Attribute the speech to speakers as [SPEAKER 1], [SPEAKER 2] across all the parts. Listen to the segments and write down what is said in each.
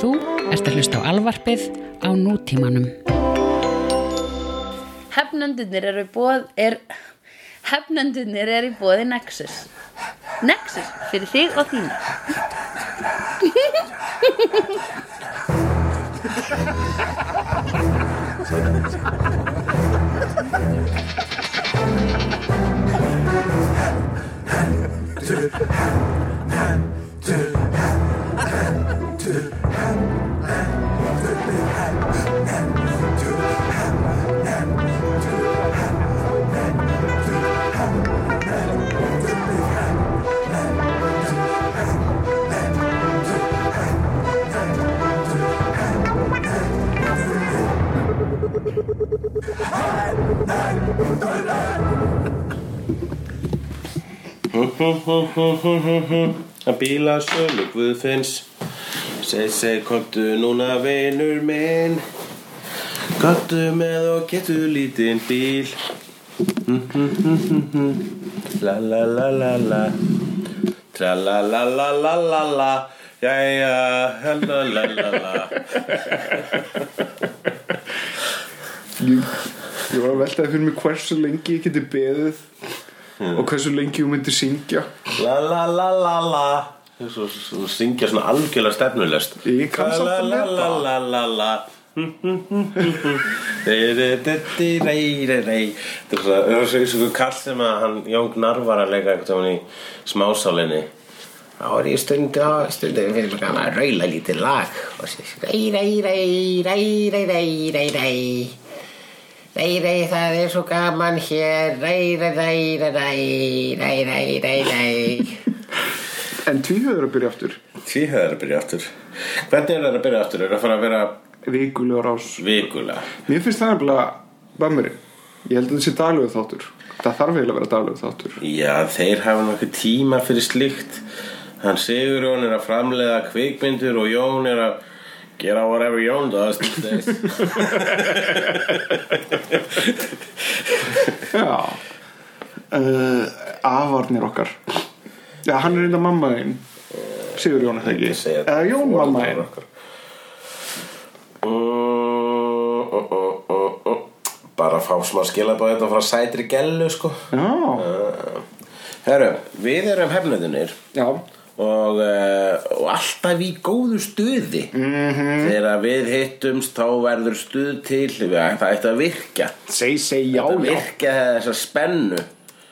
[SPEAKER 1] Þú ert að hlusta á alvarpið á nútímanum.
[SPEAKER 2] Hefnendunir eru í bóð er, Hefnendunir eru í bóði Nexus Nexus fyrir þig og þína
[SPEAKER 3] Að bíla sölu Guðfinns Seg, seg, komdu núna vinur minn Komdu með og getu lítinn bíl La la la la la Tra la la la la la la Jæja, la la la la
[SPEAKER 4] Ég var að veltaði fyrir mig hversu lengi ég geti beðið
[SPEAKER 3] Hmm.
[SPEAKER 4] og hversu lengi ég myndi syngja
[SPEAKER 3] La la la la la Svo, svo syngja svona algjörlega stefnulest
[SPEAKER 4] Ég kann samt að
[SPEAKER 3] La, La
[SPEAKER 4] meta.
[SPEAKER 3] la la la Rei rei rei rei Þetta er svona- það er svo ykkur kall sem að hann Jón Gnarr var að leika eitthvað í smásálinni Þá er ég stundi á, stundi fyrir mig gaman að raula lítið lag og sér rei rei rei rei rei rei rei rei Rei rei það er svo gaman hér rei rei rei rei rei rei rei rei rei
[SPEAKER 4] En tvíhöður að byrja aftur
[SPEAKER 3] Tvíhöð er að byrja aftur Hvernig er það að byrja aftur? Er það að fara að vera
[SPEAKER 4] Vikulegur ás
[SPEAKER 3] vikulega?
[SPEAKER 4] Mér finnst það nefnilega Bömmurinn Ég held að það sé daglegu þáttur Það þarf eiginlega að vera daglegu þáttur
[SPEAKER 3] Já, þeir hafa nokkuð tíma fyrir slíkt Hann Sigurjón er að framleiða kvikmyndur og Jón er að gera whatever Jón does these days.
[SPEAKER 4] Já uh, Afarnir okkar Já, hann er reynda mamma þín Sigur Jón er það
[SPEAKER 3] Ég
[SPEAKER 4] ekki
[SPEAKER 3] segi að
[SPEAKER 4] Eða Jón mamma
[SPEAKER 3] foreldrar
[SPEAKER 4] þín
[SPEAKER 3] okkar. Mm, ó, ó, ó, ó. Bara fá smá skilabóð þetta frá sætri gellu sko
[SPEAKER 4] Já,
[SPEAKER 3] Uh, Herru, við erum hefnöðunir
[SPEAKER 4] já
[SPEAKER 3] og, uh, og alltaf í góðu stuði
[SPEAKER 4] Mhm.
[SPEAKER 3] -hmm. þegar við hittumst þá verður stuð til við, það ætti að virka
[SPEAKER 4] Seg, seg, já,
[SPEAKER 3] að
[SPEAKER 4] já
[SPEAKER 3] virka þessa spennu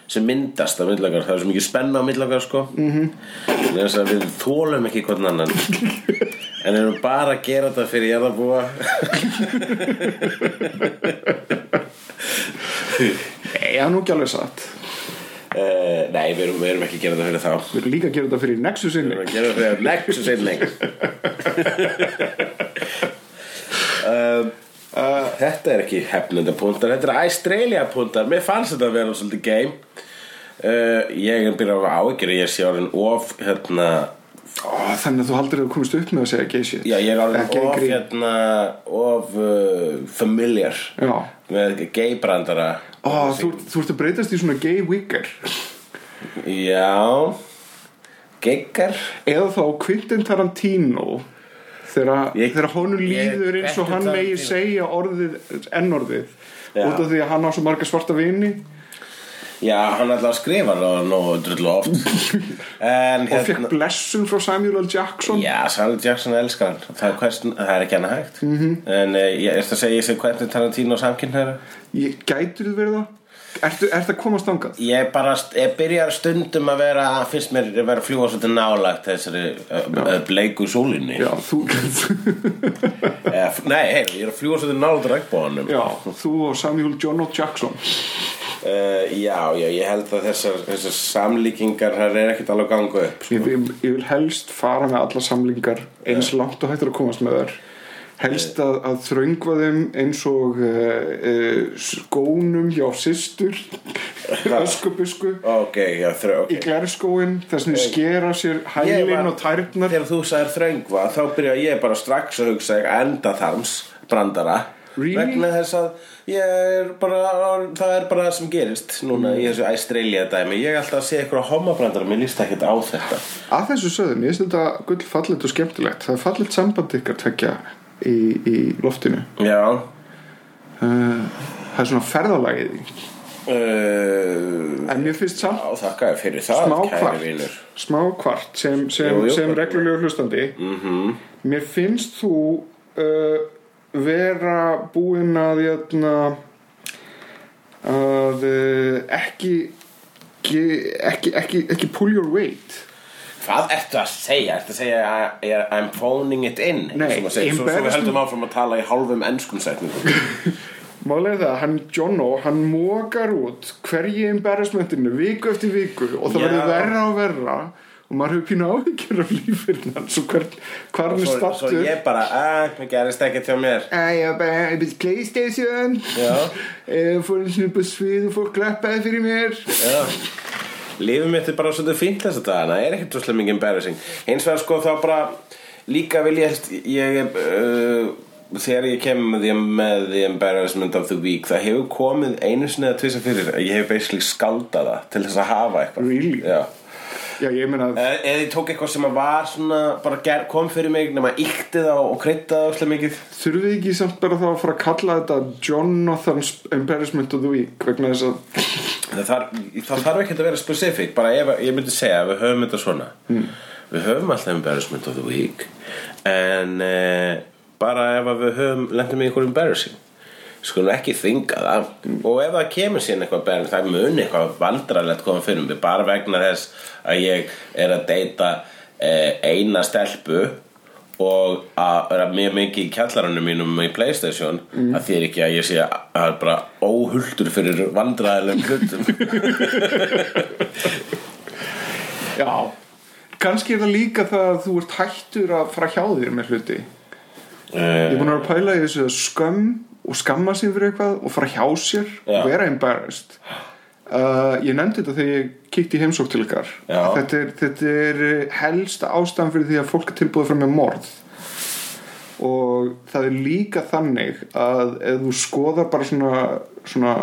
[SPEAKER 3] sem myndast á myndlakar það er svo mikið spenna á myndlakar sko mm -hmm. við þólum ekki hvern annan en erum bara að gera þetta fyrir ég að búa
[SPEAKER 4] Nei, það er nú ekki alveg satt
[SPEAKER 3] Eh, nei, við erum, við erum ekki að gera þetta fyrir þá
[SPEAKER 4] Við erum líka að gera þetta fyrir
[SPEAKER 3] Við
[SPEAKER 4] Nexusinni
[SPEAKER 3] erum að gera þetta fyrir Nexus einning um, uh, Þetta er ekki hefnendapúntar Þetta er Australia-púntar Mér fannst þetta að vera svolítið game uh, Ég er byrjað á áhyggjur Ég sé orðin of hérna,
[SPEAKER 4] Ó, Þannig að þú haldir að þú komist upp með að segja gay shit
[SPEAKER 3] Já, ég er
[SPEAKER 4] Eða
[SPEAKER 3] orðin
[SPEAKER 4] gay
[SPEAKER 3] of,
[SPEAKER 4] grín.
[SPEAKER 3] hérna, of uh, familiar
[SPEAKER 4] Já.
[SPEAKER 3] með gaybrandara
[SPEAKER 4] Ó, þú, þú ert að breytast í svona gay wigger
[SPEAKER 3] Já Geggar
[SPEAKER 4] eða þá Quentin Tarantino þegar
[SPEAKER 3] Ég-
[SPEAKER 4] þegar honum
[SPEAKER 3] ég-
[SPEAKER 4] líður eins og
[SPEAKER 3] Quentin
[SPEAKER 4] hann megi
[SPEAKER 3] Tarantino.
[SPEAKER 4] segja orðið ennorðið
[SPEAKER 3] Já.
[SPEAKER 4] út af því að hann á svo marga svarta vini
[SPEAKER 3] Já, hann ætlaði að skrifa það nógu drullu oft En
[SPEAKER 4] og fekk blessun frá Samuel L. Jackson
[SPEAKER 3] Hérna- Já, Samuel Jackson elskar hann Það er, hvers, það er ekki annað hægt -hmm.
[SPEAKER 4] Mhm.
[SPEAKER 3] En eh, ég er að segja ég sem hvernig Tarantino samkynhæra
[SPEAKER 4] ég gætur þið verið það ertu, ertu að komast angað
[SPEAKER 3] Ég bara, st- ég byrjar stundum að vera Fyrst mér að vera að fljúga svolítið nálægt Þessari eh, eh, bleiku sólinni
[SPEAKER 4] já, þú
[SPEAKER 3] Eh, f- Nei, hei, ég er að fljúga svolítið nálægt regnbóðanum
[SPEAKER 4] já, þú og Samuel John O. Jackson
[SPEAKER 3] Uh, já, já, ég held að þessar, þessar samlíkingar Það er ekkert alveg að ganga upp
[SPEAKER 4] ég, vil- ég vil helst fara með alla samlingar eins langt og hættur að komast með þær helst að, að þröngva þeim eins og uh, uh, skónum hjá systur öskubusku
[SPEAKER 3] Ok, já, þrjó, ok
[SPEAKER 4] í glerskóin þess að skera sér
[SPEAKER 3] Ég
[SPEAKER 4] hælin
[SPEAKER 3] var-
[SPEAKER 4] og tærnar
[SPEAKER 3] Þegar þú sagðir þröngva þá byrja ég bara strax að hugsa enda þarms brandara
[SPEAKER 4] Really?
[SPEAKER 3] vegna þess að ég er bara, það er bara það sem gerist núna í þessu Australia dæmi ég er alltaf að sé eitthvað homabrandar mér líst ekkert á þetta
[SPEAKER 4] Að þessu sögðum, ég finnst þetta gull fallit og skemmtilegt. Það er fallit samband ykkar tvekja í, í loftinu.
[SPEAKER 3] já
[SPEAKER 4] Uh, það er svona ferðalagið. í.
[SPEAKER 3] uh,
[SPEAKER 4] En mér finnst samt
[SPEAKER 3] á þakka þér fyrir það
[SPEAKER 4] smá
[SPEAKER 3] kæri
[SPEAKER 4] kvart,
[SPEAKER 3] vinur.
[SPEAKER 4] smá kvart sem, sem,
[SPEAKER 3] Jú, Mhm. jú.
[SPEAKER 4] sem reglulegu hlustandi. Mér finnst þú uh, vera búinn að, jötna, að uh, ekki, ekki, ekki, ekki, ekki pull your weight.
[SPEAKER 3] Hvað ertu að segja? Ertu að segja að ég er- I'm phoning it in?
[SPEAKER 4] Nei,
[SPEAKER 3] sem að segja, svo, svo við
[SPEAKER 4] embarrassment-
[SPEAKER 3] höldum áfram að tala í hálfum enskum setningum
[SPEAKER 4] Málega það, hann Jono, hann mókar út hverji embarrassmentinu viku eftir viku og það
[SPEAKER 3] Já.
[SPEAKER 4] verður verra og verra og maður hefur pínu áhyggjur af lífinu hans og hvern, hvað hann er
[SPEAKER 3] Svo, svo
[SPEAKER 4] stattur.
[SPEAKER 3] ég bara, að, það gerist ekkert hjá mér
[SPEAKER 4] Æ, ég var bara, ég byrði Playstation,
[SPEAKER 3] Já,
[SPEAKER 4] Eh, fór eins og upp á svið og fór klappaði fyrir mér.
[SPEAKER 3] já Lífið mitt er bara svolítið fínt þess að dagana er ekkert svolítið mikið embarrassing Eins vegar sko þá bara líka vil ég helst ég, uh, Þegar ég kem með því með the embarrassment of the week það hefur komið einu sinni eða tvisa fyrir ég hef basically skaldað það til þess að hafa eitthvað
[SPEAKER 4] Really?
[SPEAKER 3] Já
[SPEAKER 4] Já, ég meina,
[SPEAKER 3] Eh, eða ég tók eitthvað sem að var svona bara ger, kom fyrir mig nema íkti það og kryddaði það óslega mikið
[SPEAKER 4] þurfum við ekki samt bara þá að fara að kalla þetta Jonathan's Embarrassment of the Week vegna þess að
[SPEAKER 3] það þarf, það þarf ekki að vera specific bara ef, ég myndi segja að við höfum þetta svona við höfum alltaf embarrassment of the week en e, bara ef að við höfum lendum í einhverjum embarrassing skulum ekki þinga það og ef það kemur síðan eitthvað embarrassing það mun eitthvað vandralegt koma fyrir mig bara vegna þess að ég er að deyta e, eina stelpu og að vera mjög mikið í kjallaranum mínum í Playstation
[SPEAKER 4] Mhm.
[SPEAKER 3] að því er ekki að ég sé að að bara óhultur fyrir vandræðilegum hlutum
[SPEAKER 4] Já, kannski er það líka það að þú ert hættur að fara hjá þér með hluti Ég er búin að vera að pæla í þessu að skömm og skamma sig fyrir eitthvað og fara hjá sér
[SPEAKER 3] Já.
[SPEAKER 4] og vera embarrassed uh, Ég nefndi þetta þegar ég kíkti í heimsók til ykkar
[SPEAKER 3] Já.
[SPEAKER 4] Að þetta er, þetta er eh, helsta ástæðan fyrir því að fólk er tilbúið frá með morð og það er líka þannig að ef þú skoðar bara svona, svona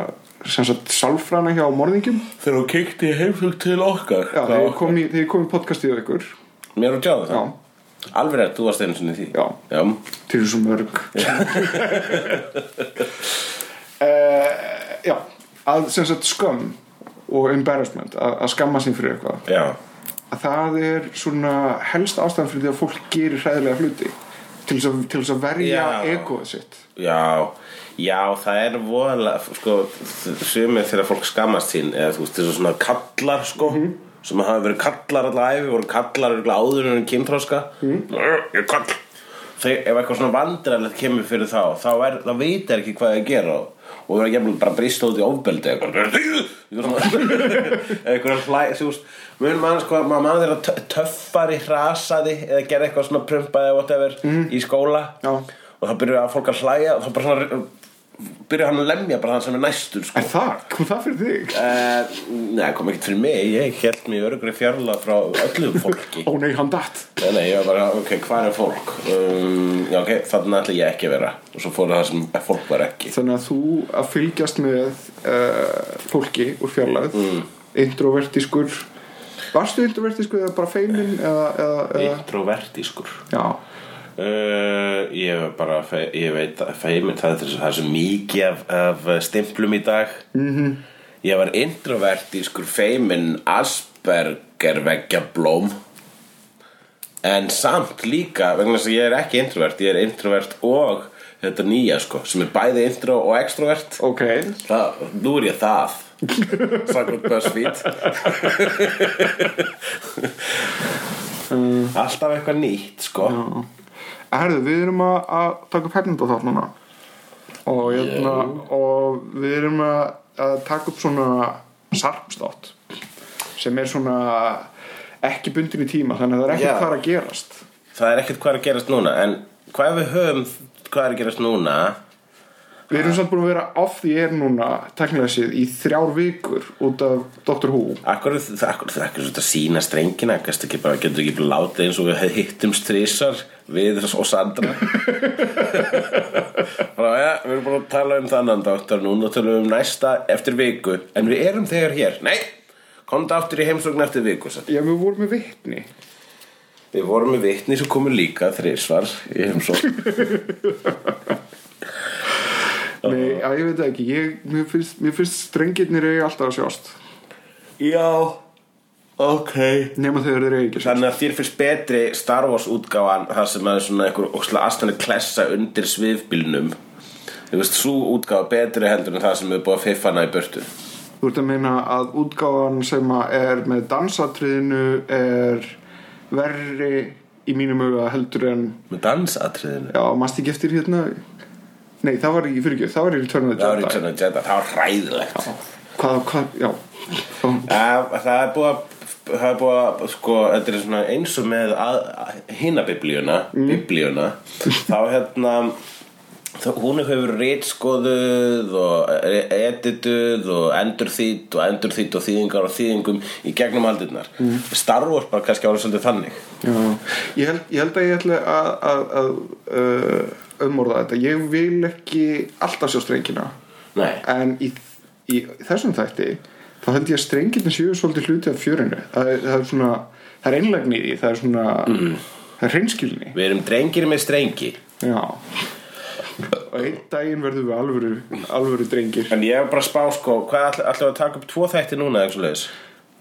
[SPEAKER 4] sem sagt sálfræna hjá morðingjum
[SPEAKER 3] þegar hún kikti heimsug til okkar
[SPEAKER 4] Já, þegar ég kom í, þegar ég kom í podcastið á ykkur
[SPEAKER 3] mér og tjáðu
[SPEAKER 4] Já.
[SPEAKER 3] það alveg rétt, þú varst einu sinni í því
[SPEAKER 4] Já.
[SPEAKER 3] Já.
[SPEAKER 4] til þessu mörg uh, já að sem sagt skömm og embarrassment að, að skamma sín fyrir eitthvað
[SPEAKER 3] Já.
[SPEAKER 4] að það er svona helst ástæðan fyrir því að fólk gerir hræðilega hluti til þess að, til þess að verja
[SPEAKER 3] Já.
[SPEAKER 4] egoð sitt
[SPEAKER 3] Já, já, það er voðalega, sko, sumir þegar fólk skammast sín, eða þú veist, þessu svona kallar, sko, sem hafa verið kallar alla æfi, voru kallar örugglega áður en kynþróska, mm. ég er kall. Þegar, ef eitthvað svona vandræðilegt kemur fyrir þá, þá, er, þá veit er ekki hvað það gera og það er jafnvel bara brist út í ofbeldi eitthvað eitthvað hlæ, þú veist, mun mann sko, maður mann þeirra töffari hrasaði eða gerði eitthvað svona prumpaði eða whatever í skóla
[SPEAKER 4] Já.
[SPEAKER 3] og þá byrjuðu að fólk að hlæja og þá bara svona byrjuðu hann að lemja bara þann sem er næstur sko.
[SPEAKER 4] er það, kom það fyrir þig?
[SPEAKER 3] uh, Nei, kom ekkert fyrir mig ég held mig örugri fjarlag frá öllu fólki
[SPEAKER 4] ó nei, hann datt
[SPEAKER 3] Nei, nei, ég var bara, ok, hvað er fólk? Um, já, ok, þannig ætla ég ekki að vera og svo fór það sem fólk var ekki
[SPEAKER 4] þannig að þú að fylgjast með uh, fólki úr fjarlæð introvertískur varstu introvertískur eða bara feiminn eða, eða, eða
[SPEAKER 3] Introvertískur
[SPEAKER 4] já
[SPEAKER 3] Uh, ég er bara fe- ég veit að feimur það er svo, það er svo mikið af, af eh, stimplum í dag -hmm. ég var introvertískur feimin Asperger veggja blóm en samt líka vegna þess að ég er ekki introvert ég er introvert og þetta nýja sko sem er bæði intro og extrovert
[SPEAKER 4] Ok,
[SPEAKER 3] það, nú er ég það Sankot BuzzFeed Alltaf eitthvað nýtt sko
[SPEAKER 4] herðu, við erum að, að taka upp hefnenda þátt núna og, hérna, og við erum að, að taka upp svona sarpstátt sem er svona ekki bundin í tíma þannig að það er
[SPEAKER 3] Já.
[SPEAKER 4] ekkert hvað er að gerast
[SPEAKER 3] Það er ekkert hvað er að gerast núna En hvað ef við höfum hvað er að gerast núna
[SPEAKER 4] Við erum samt búin að vera off the air núna teknilega séð í þrjár vikur út af Dr. Who
[SPEAKER 3] Akkur, akkur, akkur, akkur þetta sína strengina Kannski ekki bara, getur ekki bara látið eins og við hittumst þrísar við og Sandra Bara, ja, við erum búin að tala um þannan dáttar núna tölum við um næsta eftir viku en við erum þegar hér, nei komdu aftur í heimsókn eftir viku sagði.
[SPEAKER 4] Já, við vorum með vitni
[SPEAKER 3] við vorum með vitni sem komur líka þrísvar í heimsókn
[SPEAKER 4] Nei, að ég veit það ekki ég, mér, finnst, mér finnst strengirnir eiga alltaf að sjást
[SPEAKER 3] já, ok
[SPEAKER 4] nema þegar þeir eiga ekki að sjást
[SPEAKER 3] Þannig að þér finnst betri Star Wars útgáfan þar sem að er svona einhver ókslega astanir klessa undir svifbílnum Þú veist, svo útgáfa betri heldur en það sem er búið að fiffa hana í burtu
[SPEAKER 4] Þú ert að meina að útgáfan sem að er með dansatriðinu er verri í mínum huga heldur en
[SPEAKER 3] Með dansatriðinu
[SPEAKER 4] já, mannst ekki eftir hérna Nei, það var í fyrirgjöf, það var í Return of the
[SPEAKER 3] Það var
[SPEAKER 4] Jedi
[SPEAKER 3] Return of the Jedi, það var hræðilegt
[SPEAKER 4] Hvað, hvað, já Þá-
[SPEAKER 3] Það það er búið að Það er búið að, sko, þetta er svona eins og með að, hina biblíuna, biblíuna, þá hérna, þá, hún hefur rítskoðuð og e- edituð og endurþýtt og endurþýtt og þýðingar og þýðingum í gegnum aldurnar. Mm. Star Wars bara kannski ára svolítið þannig.
[SPEAKER 4] Já, ég held, ég held að ég ætla að, að, að uh, umorða þetta Ég vil ekki alltaf sjá strengina
[SPEAKER 3] Nei.
[SPEAKER 4] En í, í þessum þætti þá held ég að strengirna séu svolítið hluti af fjörinu Það er, það er svona, það er einlægni í því, það er svona, það er hreinskilni
[SPEAKER 3] Við erum drengir með strengi.
[SPEAKER 4] Já Og einn daginn verðum við alvöru, alvöru drengir
[SPEAKER 3] En ég er bara að spá, sko, hvað ætl- ætlum við að taka upp tvo þætti núna, eða eitthvað leðis?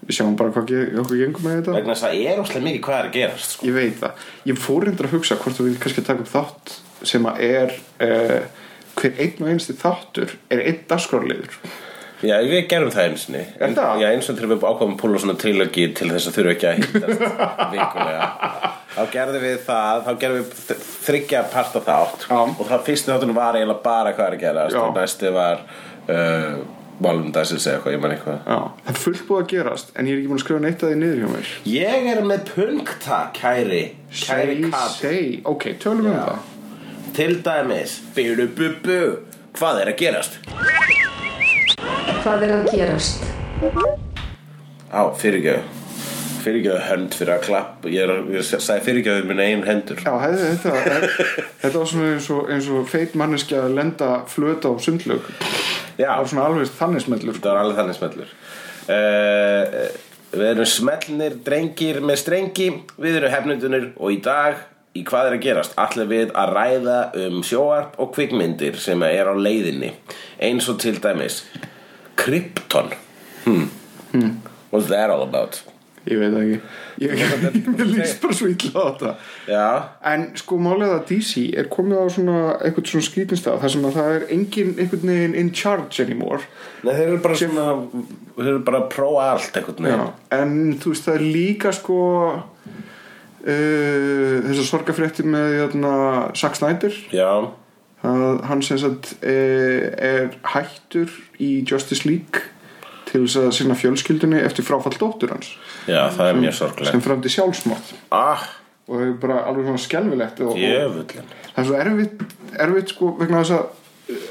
[SPEAKER 4] Við sjáum bara hvað ge- okkur gengur með þetta
[SPEAKER 3] Vegna þess að það er óslega mikið hvað er að gerast, sko.
[SPEAKER 4] Ég veit það. Ég fór reyndar að hugsa hvort þú vil kannski taka upp þátt sem að er uh, hver einn og einsti þáttur er einn dagskrárliður.
[SPEAKER 3] Já, við gerum það eins og
[SPEAKER 4] Er það?
[SPEAKER 3] Já, eins og þegar við ákvæmum að púla svona trilogi til þess að þurfa ekki að hittast vikulega Þá gerðum við það, þá gerðum við þryggja parta þátt
[SPEAKER 4] Já.
[SPEAKER 3] Og það fyrsti þáttunum var eiginlega bara hvað er að gerast
[SPEAKER 4] Já.
[SPEAKER 3] Og næsti var uh, Málum dagsins eða eitthvað, ég man eitthvað
[SPEAKER 4] Já. Það er fullt búið að gerast en ég er ekki búin að skrifa neitt að því niður hjá mér.
[SPEAKER 3] Ég er með punkta, kæri Kæri
[SPEAKER 4] Say,
[SPEAKER 3] Kati
[SPEAKER 4] Say, ok, tölum við um það.
[SPEAKER 3] Til dæmis, byrju bubu Hvað er að gerast?
[SPEAKER 5] Hvað er að gerast?
[SPEAKER 3] Á, fyrirgjöðu Fyrirgjöðu hönd fyrir að klapp Ég, er, ég sagði fyrirgjöðu minn einn hendur
[SPEAKER 4] Já, hef, þetta, hef, þetta var svona eins og, eins og feit manneskja að lenda flöta á sundlög.
[SPEAKER 3] Já.
[SPEAKER 4] Það var svona alveg þannig smellur.
[SPEAKER 3] Þetta var alveg þannig smellur uh, Við erum smellnir drengir með strengi Við erum hefnundunir og í dag Í hvað er að gerast? Allir við að ræða um sjóarp og kvikmyndir sem er á leiðinni Eins og til dæmis Krypton hmm. What's that all about?
[SPEAKER 4] Ég veit það ekki. Ég, mér líst bara svo illa á þetta.
[SPEAKER 3] Já,
[SPEAKER 4] En sko málið að DC er komið á svona eitthvað svona skrítinstað þar sem að það er engin einhvern veginn in charge anymore
[SPEAKER 3] Nei, þeir eru bara svona Þeir eru bara að prófa allt einhvern veginn
[SPEAKER 4] en þú veist það er líka sko uh, þessar sorgafrétti með jötna, Zack Snyder
[SPEAKER 3] Já,
[SPEAKER 4] að hann sem sagt uh, er hættur í Justice League til þess að sinna fjölskyldunni eftir fráfall dóttur hans
[SPEAKER 3] já, það er mjög sorglega
[SPEAKER 4] sem fremdi sjálfsmóð
[SPEAKER 3] Ah,
[SPEAKER 4] og það er bara alveg svona skelfilegt og, og,
[SPEAKER 3] jöfullin
[SPEAKER 4] það er svo erfitt, erfitt sko vegna þess að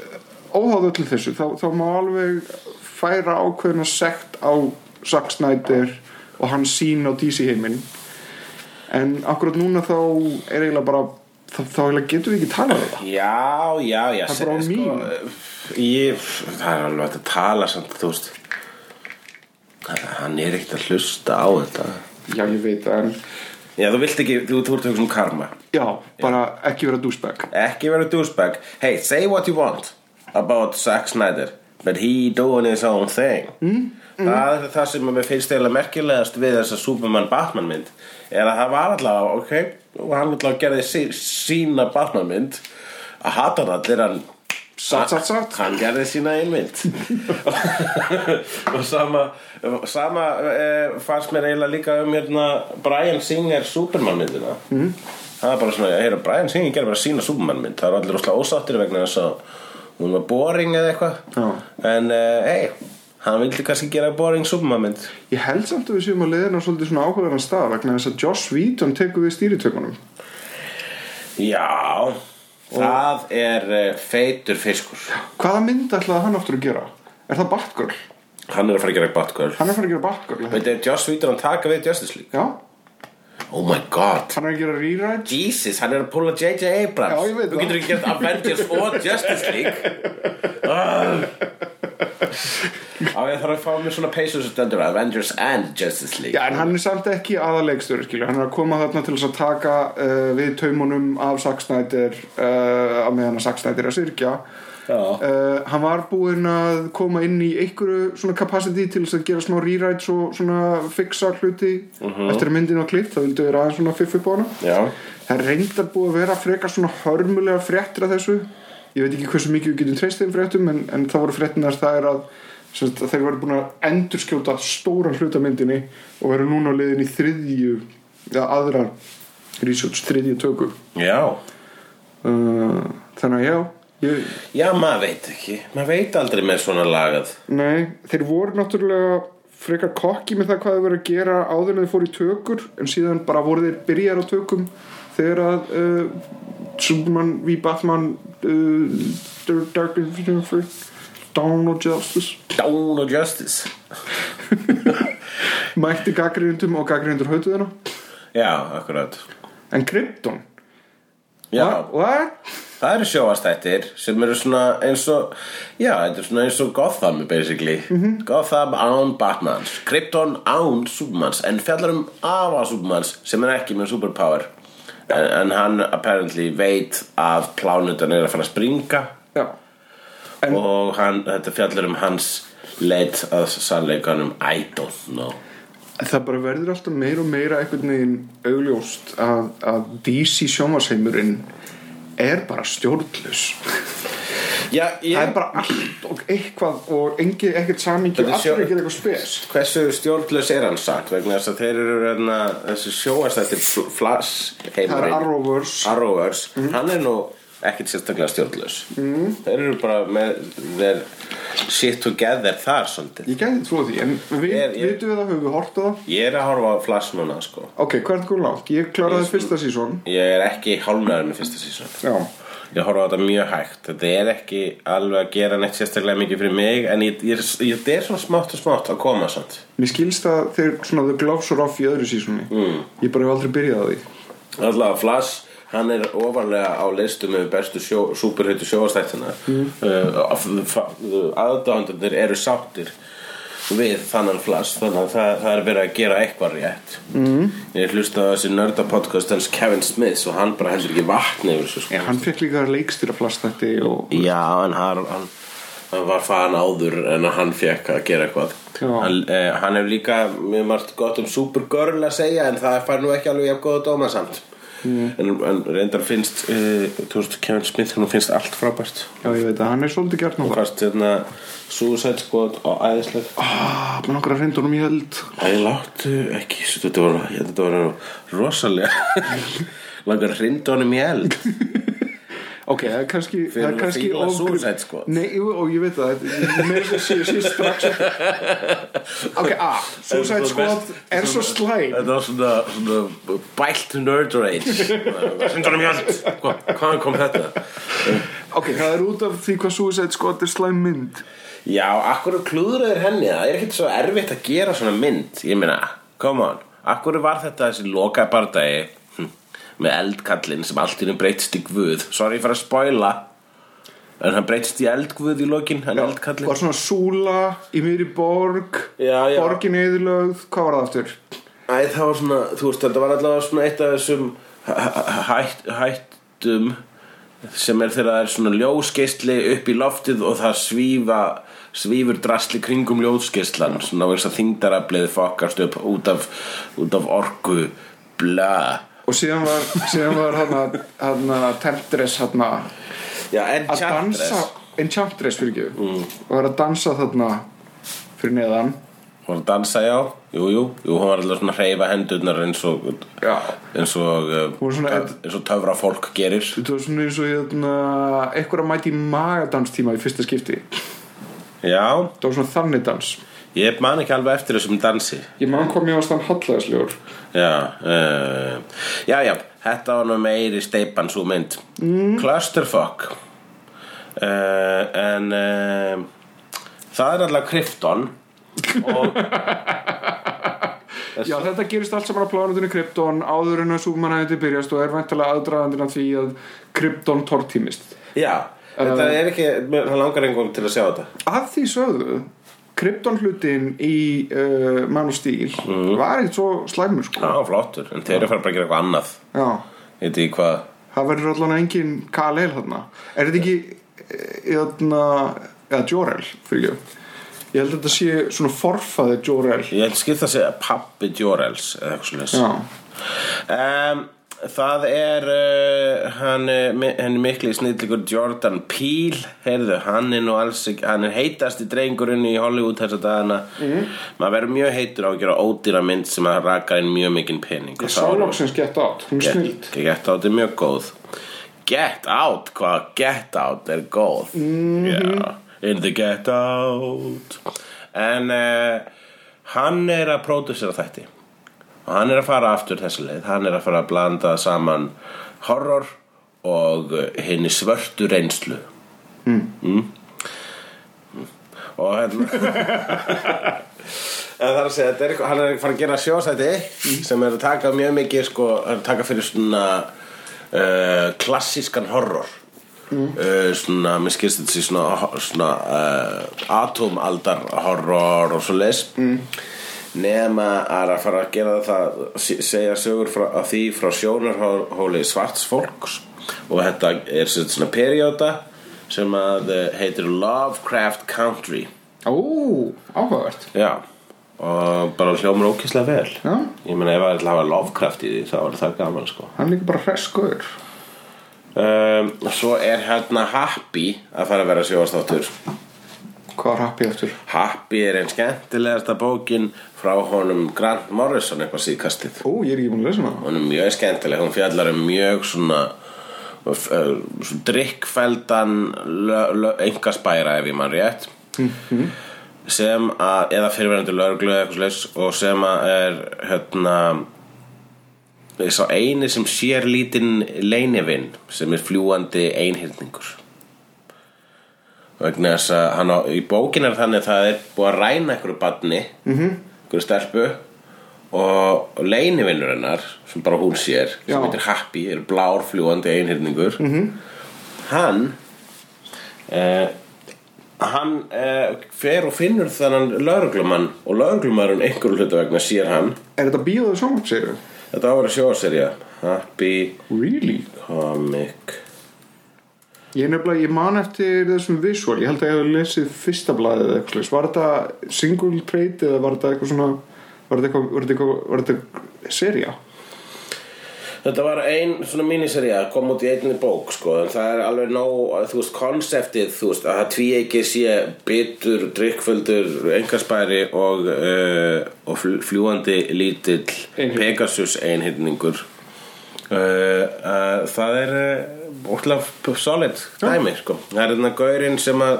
[SPEAKER 4] óháðu til þessu þá, þá má alveg færa ákveðna sekt á Zack Snyder og hans sín á DC heiminn en akkurat núna þá er eiginlega bara þá, þá eiginlega getum við ekki talað um það
[SPEAKER 3] Já, já, já
[SPEAKER 4] Það er bara á
[SPEAKER 3] sko,
[SPEAKER 4] mín.
[SPEAKER 3] ég, Það er alveg hægt að tala samt, þú veist Hann er ekkert að hlusta á þetta
[SPEAKER 4] já ég veit það en
[SPEAKER 3] Já, þú vilt ekki, þú þú ert að hugsa um karma
[SPEAKER 4] já bara ekki vera douchebag
[SPEAKER 3] Ekki vera douchebag Hey, say what you want about Zack Snyder But he doing his own thing mm, mm. Það er það sem mér finnst eiginlega merkilegast við þessa Superman Batman mynd Er að það var allavega, ok Og hann allavega gerði sí, sína Batman mynd Að hata hann allir hann
[SPEAKER 4] satt satt satt
[SPEAKER 3] hann gerði sína einmynd og sama sama e, fannst mér eiginlega líka um hérna, Brian Singer Superman myndina mm. það er bara svona, heyra, Brian Singer gerði bara sína Superman mynd, það er allir óslega ósáttir vegna þess að hún var boring eða
[SPEAKER 4] Já.
[SPEAKER 3] eitthvað en e, hei, hann vildi kannski gera boring Superman mynd
[SPEAKER 4] ég held samt að við séum að leiðina á svolítið svona ákveðan stað vegna þess að Joss Whedon tekur við stýritökunum
[SPEAKER 3] já það er e, feitur fiskur
[SPEAKER 4] hvaða mynd ætlaði hann aftur að gera? er það Batgirl?
[SPEAKER 3] hann er að fara að gera Batgirl
[SPEAKER 4] hann er að fara að gera Batgirl er það
[SPEAKER 3] veit, er Joss Vítur hann taka við Justice League
[SPEAKER 4] Já,
[SPEAKER 3] Ó, Oh my god
[SPEAKER 4] Hann er að gera rewrite
[SPEAKER 3] Jesus, hann er að púla J.J. Abrams
[SPEAKER 4] Já, ég veit
[SPEAKER 3] Þú
[SPEAKER 4] það.
[SPEAKER 3] getur ekki gert Avengers og Justice League Ah. Á, ég þarf að fá mér svona peysu sem stendur Avengers and Justice League
[SPEAKER 4] Já, en hann er samt ekki aðalegstur, skilur, hann er að koma þarna til þess að taka uh, við taumunum af Saksnættir, uh, að meðan að Saksnættir er að syrkja.
[SPEAKER 3] Já.
[SPEAKER 4] Uh, hann var búinn að koma inn í einhverju svona capacity til þess að gera smá rewrites og svona fixa hluti eftir að myndin var klipt, það vildu vera aðeins svona fiff upp á hana.
[SPEAKER 3] Já.
[SPEAKER 4] Það er reyndar búið að vera frekar svona hörmulega fréttir að þessu. Ég veit ekki hversu mikið við getum treyst þeim fréttum en, en það voru fréttinar það er að, sem sagt, að þeir voru búin að endurskjóta stóran hluta myndinni og eru núna á leiðin í þriðju, eða aðra research, þriðju tökum.
[SPEAKER 3] Já
[SPEAKER 4] Uh, þannig að já, ég,
[SPEAKER 3] Já, maður veit ekki Maður veit aldrei með svona lagað
[SPEAKER 4] nei, þeir voru náttúrulega frekar kokki með það hvað þeir voru að gera áður en þeir fóru í tökur en síðan bara voru þeir byrjar á tökum þegar að uh, Superman v Batman uh, Dark Dark Infinity Dawn of Justice
[SPEAKER 3] Dawn of Justice
[SPEAKER 4] mætti gaggrindum og gaggrindur hötu þeirra
[SPEAKER 3] Já, akkurat
[SPEAKER 4] en Krypton
[SPEAKER 3] Já,
[SPEAKER 4] What? What?
[SPEAKER 3] það eru sjóastættir sem eru svona eins og Já, þetta er svona eins og Gotham basically
[SPEAKER 4] Mhm.
[SPEAKER 3] Gotham án Batmans Krypton án Supermans En fjallar um afa Supermans sem er ekki með superpower en, en hann apparently veit að plánutan er að fara að springa
[SPEAKER 4] Já. En-
[SPEAKER 3] Og hann, þetta fjallar um hans leit að sannleikanum I don't know
[SPEAKER 4] það bara verður alltaf meira og meira einhvern veginn augljóst að, að DC sjónvarsheimurinn er bara stjórnlus
[SPEAKER 3] Já, ég...
[SPEAKER 4] það er bara allt og eitthvað og engi, ekkert samingi
[SPEAKER 3] Þetta er
[SPEAKER 4] og allir
[SPEAKER 3] sjó-
[SPEAKER 4] ekki eitthvað spes
[SPEAKER 3] Hversu stjórnlaus er hann sagt vegna þess að þeir eru reyna þessi sjóastætti Flash
[SPEAKER 4] það er
[SPEAKER 3] heimurinn
[SPEAKER 4] Arrowverse
[SPEAKER 3] Arrowverse hann er nú ekkit sérstaklega stjórnlaus mm. þeir eru bara með þeir shit together þar svolítið
[SPEAKER 4] ég gæti trúið því, en við,
[SPEAKER 3] Ég er- ég-
[SPEAKER 4] vitum við það höfum við hortað það
[SPEAKER 3] ég er að horfa á Flash núna sko
[SPEAKER 4] ok, hvað er það góð langt? ég kláraði fyrsta sísón
[SPEAKER 3] ég er ekki hálfnaður með fyrsta sísón
[SPEAKER 4] já,
[SPEAKER 3] Ég horfa á þetta mjög hægt Þetta er ekki alveg að gera neitt sérstaklega mikið fyrir mig En ég, ég, ég, þetta er svona smátt og smátt að koma samt
[SPEAKER 4] mér skilst að þeir svona þau glásur off í öðru sísóni mm. ég bara hef aldrei byrjað á því
[SPEAKER 3] Alltaf Flash, hann er ofarlega á listum með bestu sjó, superhautu sjóastættina mm. uh, aðdáðandur eru sáttir við þannan Flash þannig að það, það er verið að gera eitthvað rétt mm. ég hlusta á þessi nörda podcast hans Kevin Smiths og hann bara hendur ekki vatni yfir þessu sko.
[SPEAKER 4] hann fekk líka leikstýra flastætti og
[SPEAKER 3] Já, en hann, hann, hann var farin áður en að hann fekk að gera eitthvað
[SPEAKER 4] Já.
[SPEAKER 3] hann, eh, hann hef líka mjög margt gott um Supergirl að segja en það fær nú ekki alveg jafn góða dóma samt en, en reyndar finnst eh, þú veist, Kevin Smith hann finnst allt frábært
[SPEAKER 4] já, ég veit að hann er svolítið gert nú það
[SPEAKER 3] fast hérna Suicide Squad og æðisleg
[SPEAKER 4] ah, mann okkur að reynda honum í held
[SPEAKER 3] Æ, láttu ekki, þetta var, þetta var rosalega langar að hrinda honum í eld
[SPEAKER 4] ok, það er kannski það er
[SPEAKER 3] Fyrir
[SPEAKER 4] kannski
[SPEAKER 3] fíla
[SPEAKER 4] of-
[SPEAKER 3] Suicide Squad.
[SPEAKER 4] nei, jú, og ég veit það þetta- mér sé, sé, sé strax ok, a, Suicide Squad er svo slæm
[SPEAKER 3] Þetta var svona, svona bælt nerd rage Sindar um hjöld Hvaðan kom þetta?
[SPEAKER 4] ok, það er út af því hvað Suicide Squad er slæm mynd
[SPEAKER 3] Já, akkur klúðraður henni Það er ekkert svo erfitt að gera svona mynd Ég meina, come on Akkur var þetta þessi loka bardagi hm, Með eldkallinn sem allt í einu breytist í guð Sorry fyrir að spoila En hann breytist í eldguð í lokin Hann eldkallinn
[SPEAKER 4] var svona súla í miðri borg
[SPEAKER 3] Já, já.
[SPEAKER 4] borgin eðurlögð, hvað var það aftur?
[SPEAKER 3] Æ, það var svona, þú veist, þetta var allavega svona eitt af þessum hætt, hættum sem er þegar það er svona ljósgeisli upp í loftið og það svífa svífur drasli kringum ljósgeislan svona þess að þingdaraflið fokast upp út af, út af orku bla
[SPEAKER 4] og síðan var, síðan var hana, hana Temptress hana
[SPEAKER 3] Já,
[SPEAKER 4] að dansa
[SPEAKER 3] Enchantress Mm.
[SPEAKER 4] Enchantress fyrir ekki og var að dansa þarna fyrir neðan
[SPEAKER 3] Hún var að dansa, já, jú, jú, jú hún var allavega svona að hreyfa hendurnar eins og
[SPEAKER 4] Já.
[SPEAKER 3] eins og,
[SPEAKER 4] Hún var svona-
[SPEAKER 3] eins og töfra fólk gerir
[SPEAKER 4] Þetta var svona eins og hérna, eitthvað að mæti í magadanstíma í fyrsta skipti.
[SPEAKER 3] Já,
[SPEAKER 4] Þetta var svona þannig dans.
[SPEAKER 3] ég man ekki alveg eftir þessum dansi
[SPEAKER 4] Ég mann kom ég á stann hallæðislegur.
[SPEAKER 3] Já, uh, já, já, þetta var nú meiri steipan svo mynd Mm. Clusterfuck uh, En uh, það er alltaf Krypton og,
[SPEAKER 4] Já, þetta gerist allt saman á plánutunni Krypton áður en að súmanæðandi byrjast og er væntalega aðdraðandir af því að Krypton tortímist.
[SPEAKER 3] Já, þetta er ekki, það langar engum til að sjá þetta
[SPEAKER 4] Af því sögðu, Krypton hlutin í uh, Man of Steel var eitt svo slæmur sko.
[SPEAKER 3] Já, flottur, en þeir eru fara bara að gera eitthvað annað
[SPEAKER 4] Já,
[SPEAKER 3] Ég veit í hvað
[SPEAKER 4] það verður allan engin KLL þarna. Er þetta ekki, eh, hérna, eða Jor-El, fyrir ekki? Ég held að þetta sé svona forfaði Jor-El.
[SPEAKER 3] Ég held skipt að segja pappi Jorels eða eitthvað slúðis
[SPEAKER 4] Já,
[SPEAKER 3] um, Það er uh, hann, eh, mi- hann er mikli snillikur Jordan Peele heyrðu, hann er nú alls ekki hann er heitasti drengurinn í Hollywood þessa dagana
[SPEAKER 4] Mhm.
[SPEAKER 3] maður verður mjög heitur á að gera ódýra mynd sem að raka inn mjög mikinn pening
[SPEAKER 4] ég sá loksins gett átt, hún er snild.
[SPEAKER 3] Get, get Out er mjög góð Get Out, hvað Get Out er góð Já, In the Get Out En uh, hann er að pródusera þætti og hann er að fara aftur þessi leið hann er að fara að blanda saman horror og henni svörtu reynslu Mm. og hérna En það er að segja, þetta er eitthvað, hann er að fara að gera sjósæti sem er að taka mjög mikið sko, er að taka fyrir svona uh, klassískan horror uh, svona, mér skilst þetta sé svona, ho- svona uh, atomaldar horror og svo leis nema er að fara að gera það se- segja sögur frá, að því frá sjónarhóli svarts fólks og þetta er sem sagt svona perióda sem að eh, heitir Lovecraft Country
[SPEAKER 4] Ó, áhugavert.
[SPEAKER 3] Já, og bara hljómar ókíslega vel
[SPEAKER 4] Já.
[SPEAKER 3] Ég meina ef að ætla að hafa Lovecraft í því þá var það gaman sko
[SPEAKER 4] Hann er líka bara hreskuður.
[SPEAKER 3] um, Svo er hérna Happy að fara að vera sjóastáttur
[SPEAKER 4] Hvað var happy eftir?
[SPEAKER 3] Happy er einn skemmtilegasta bókin frá honum Grant Morrison eitthvað síðkastið
[SPEAKER 4] Ó, ég er ekki búin að lesa hana.
[SPEAKER 3] Hún er mjög skemmtileg, hún fjallar um mjög svona uh, svona drikkfeldan engaspæra ef ég mann rétt sem að eða fyrirverandi lögreglu eða eitthvað slags og sem að er hérna er sá eini sem sér lítinn leinivinn sem er fljúandi einhyrningur vegna þess að hann á, í bókin er þannig að það er búið að ræna einhverju badni -hmm. einhverju stelpu og leinivinnur hennar sem bara hún sér,
[SPEAKER 4] Já.
[SPEAKER 3] sem heitir Happy er blár fljúandi einhyrningur mm -hmm. hann eh, hann eh, fer og finnur þannan lauruglumann og lauruglumann einhverju hlutu vegna sér hann
[SPEAKER 4] Er þetta bíóðu sjónvart, segir þau?
[SPEAKER 3] þetta á að vera sjóserja Happy
[SPEAKER 4] Really?
[SPEAKER 3] Comic
[SPEAKER 4] Ég nefnilega, ég man eftir þessum visual, ég held að ég hef lesið fyrsta blæðið eða eitthvað, slags. var þetta single trade eða var þetta eitthvað svona, var þetta eitthvað, var þetta eitthvað, var þetta serja?
[SPEAKER 3] Þetta var ein svona míniserja kom út í einni bók sko en það er alveg nóg, þú veist, konseptið þú veist, að það tví ekki sé bitur, drikkföldur, engarspæri og, uh, og fl- fljúandi lítill
[SPEAKER 4] Einhyrning.
[SPEAKER 3] Pegasus einhyrningur uh, uh, það er uh, ótrúlega solid dæmi sko, það er þarna gaurinn sem að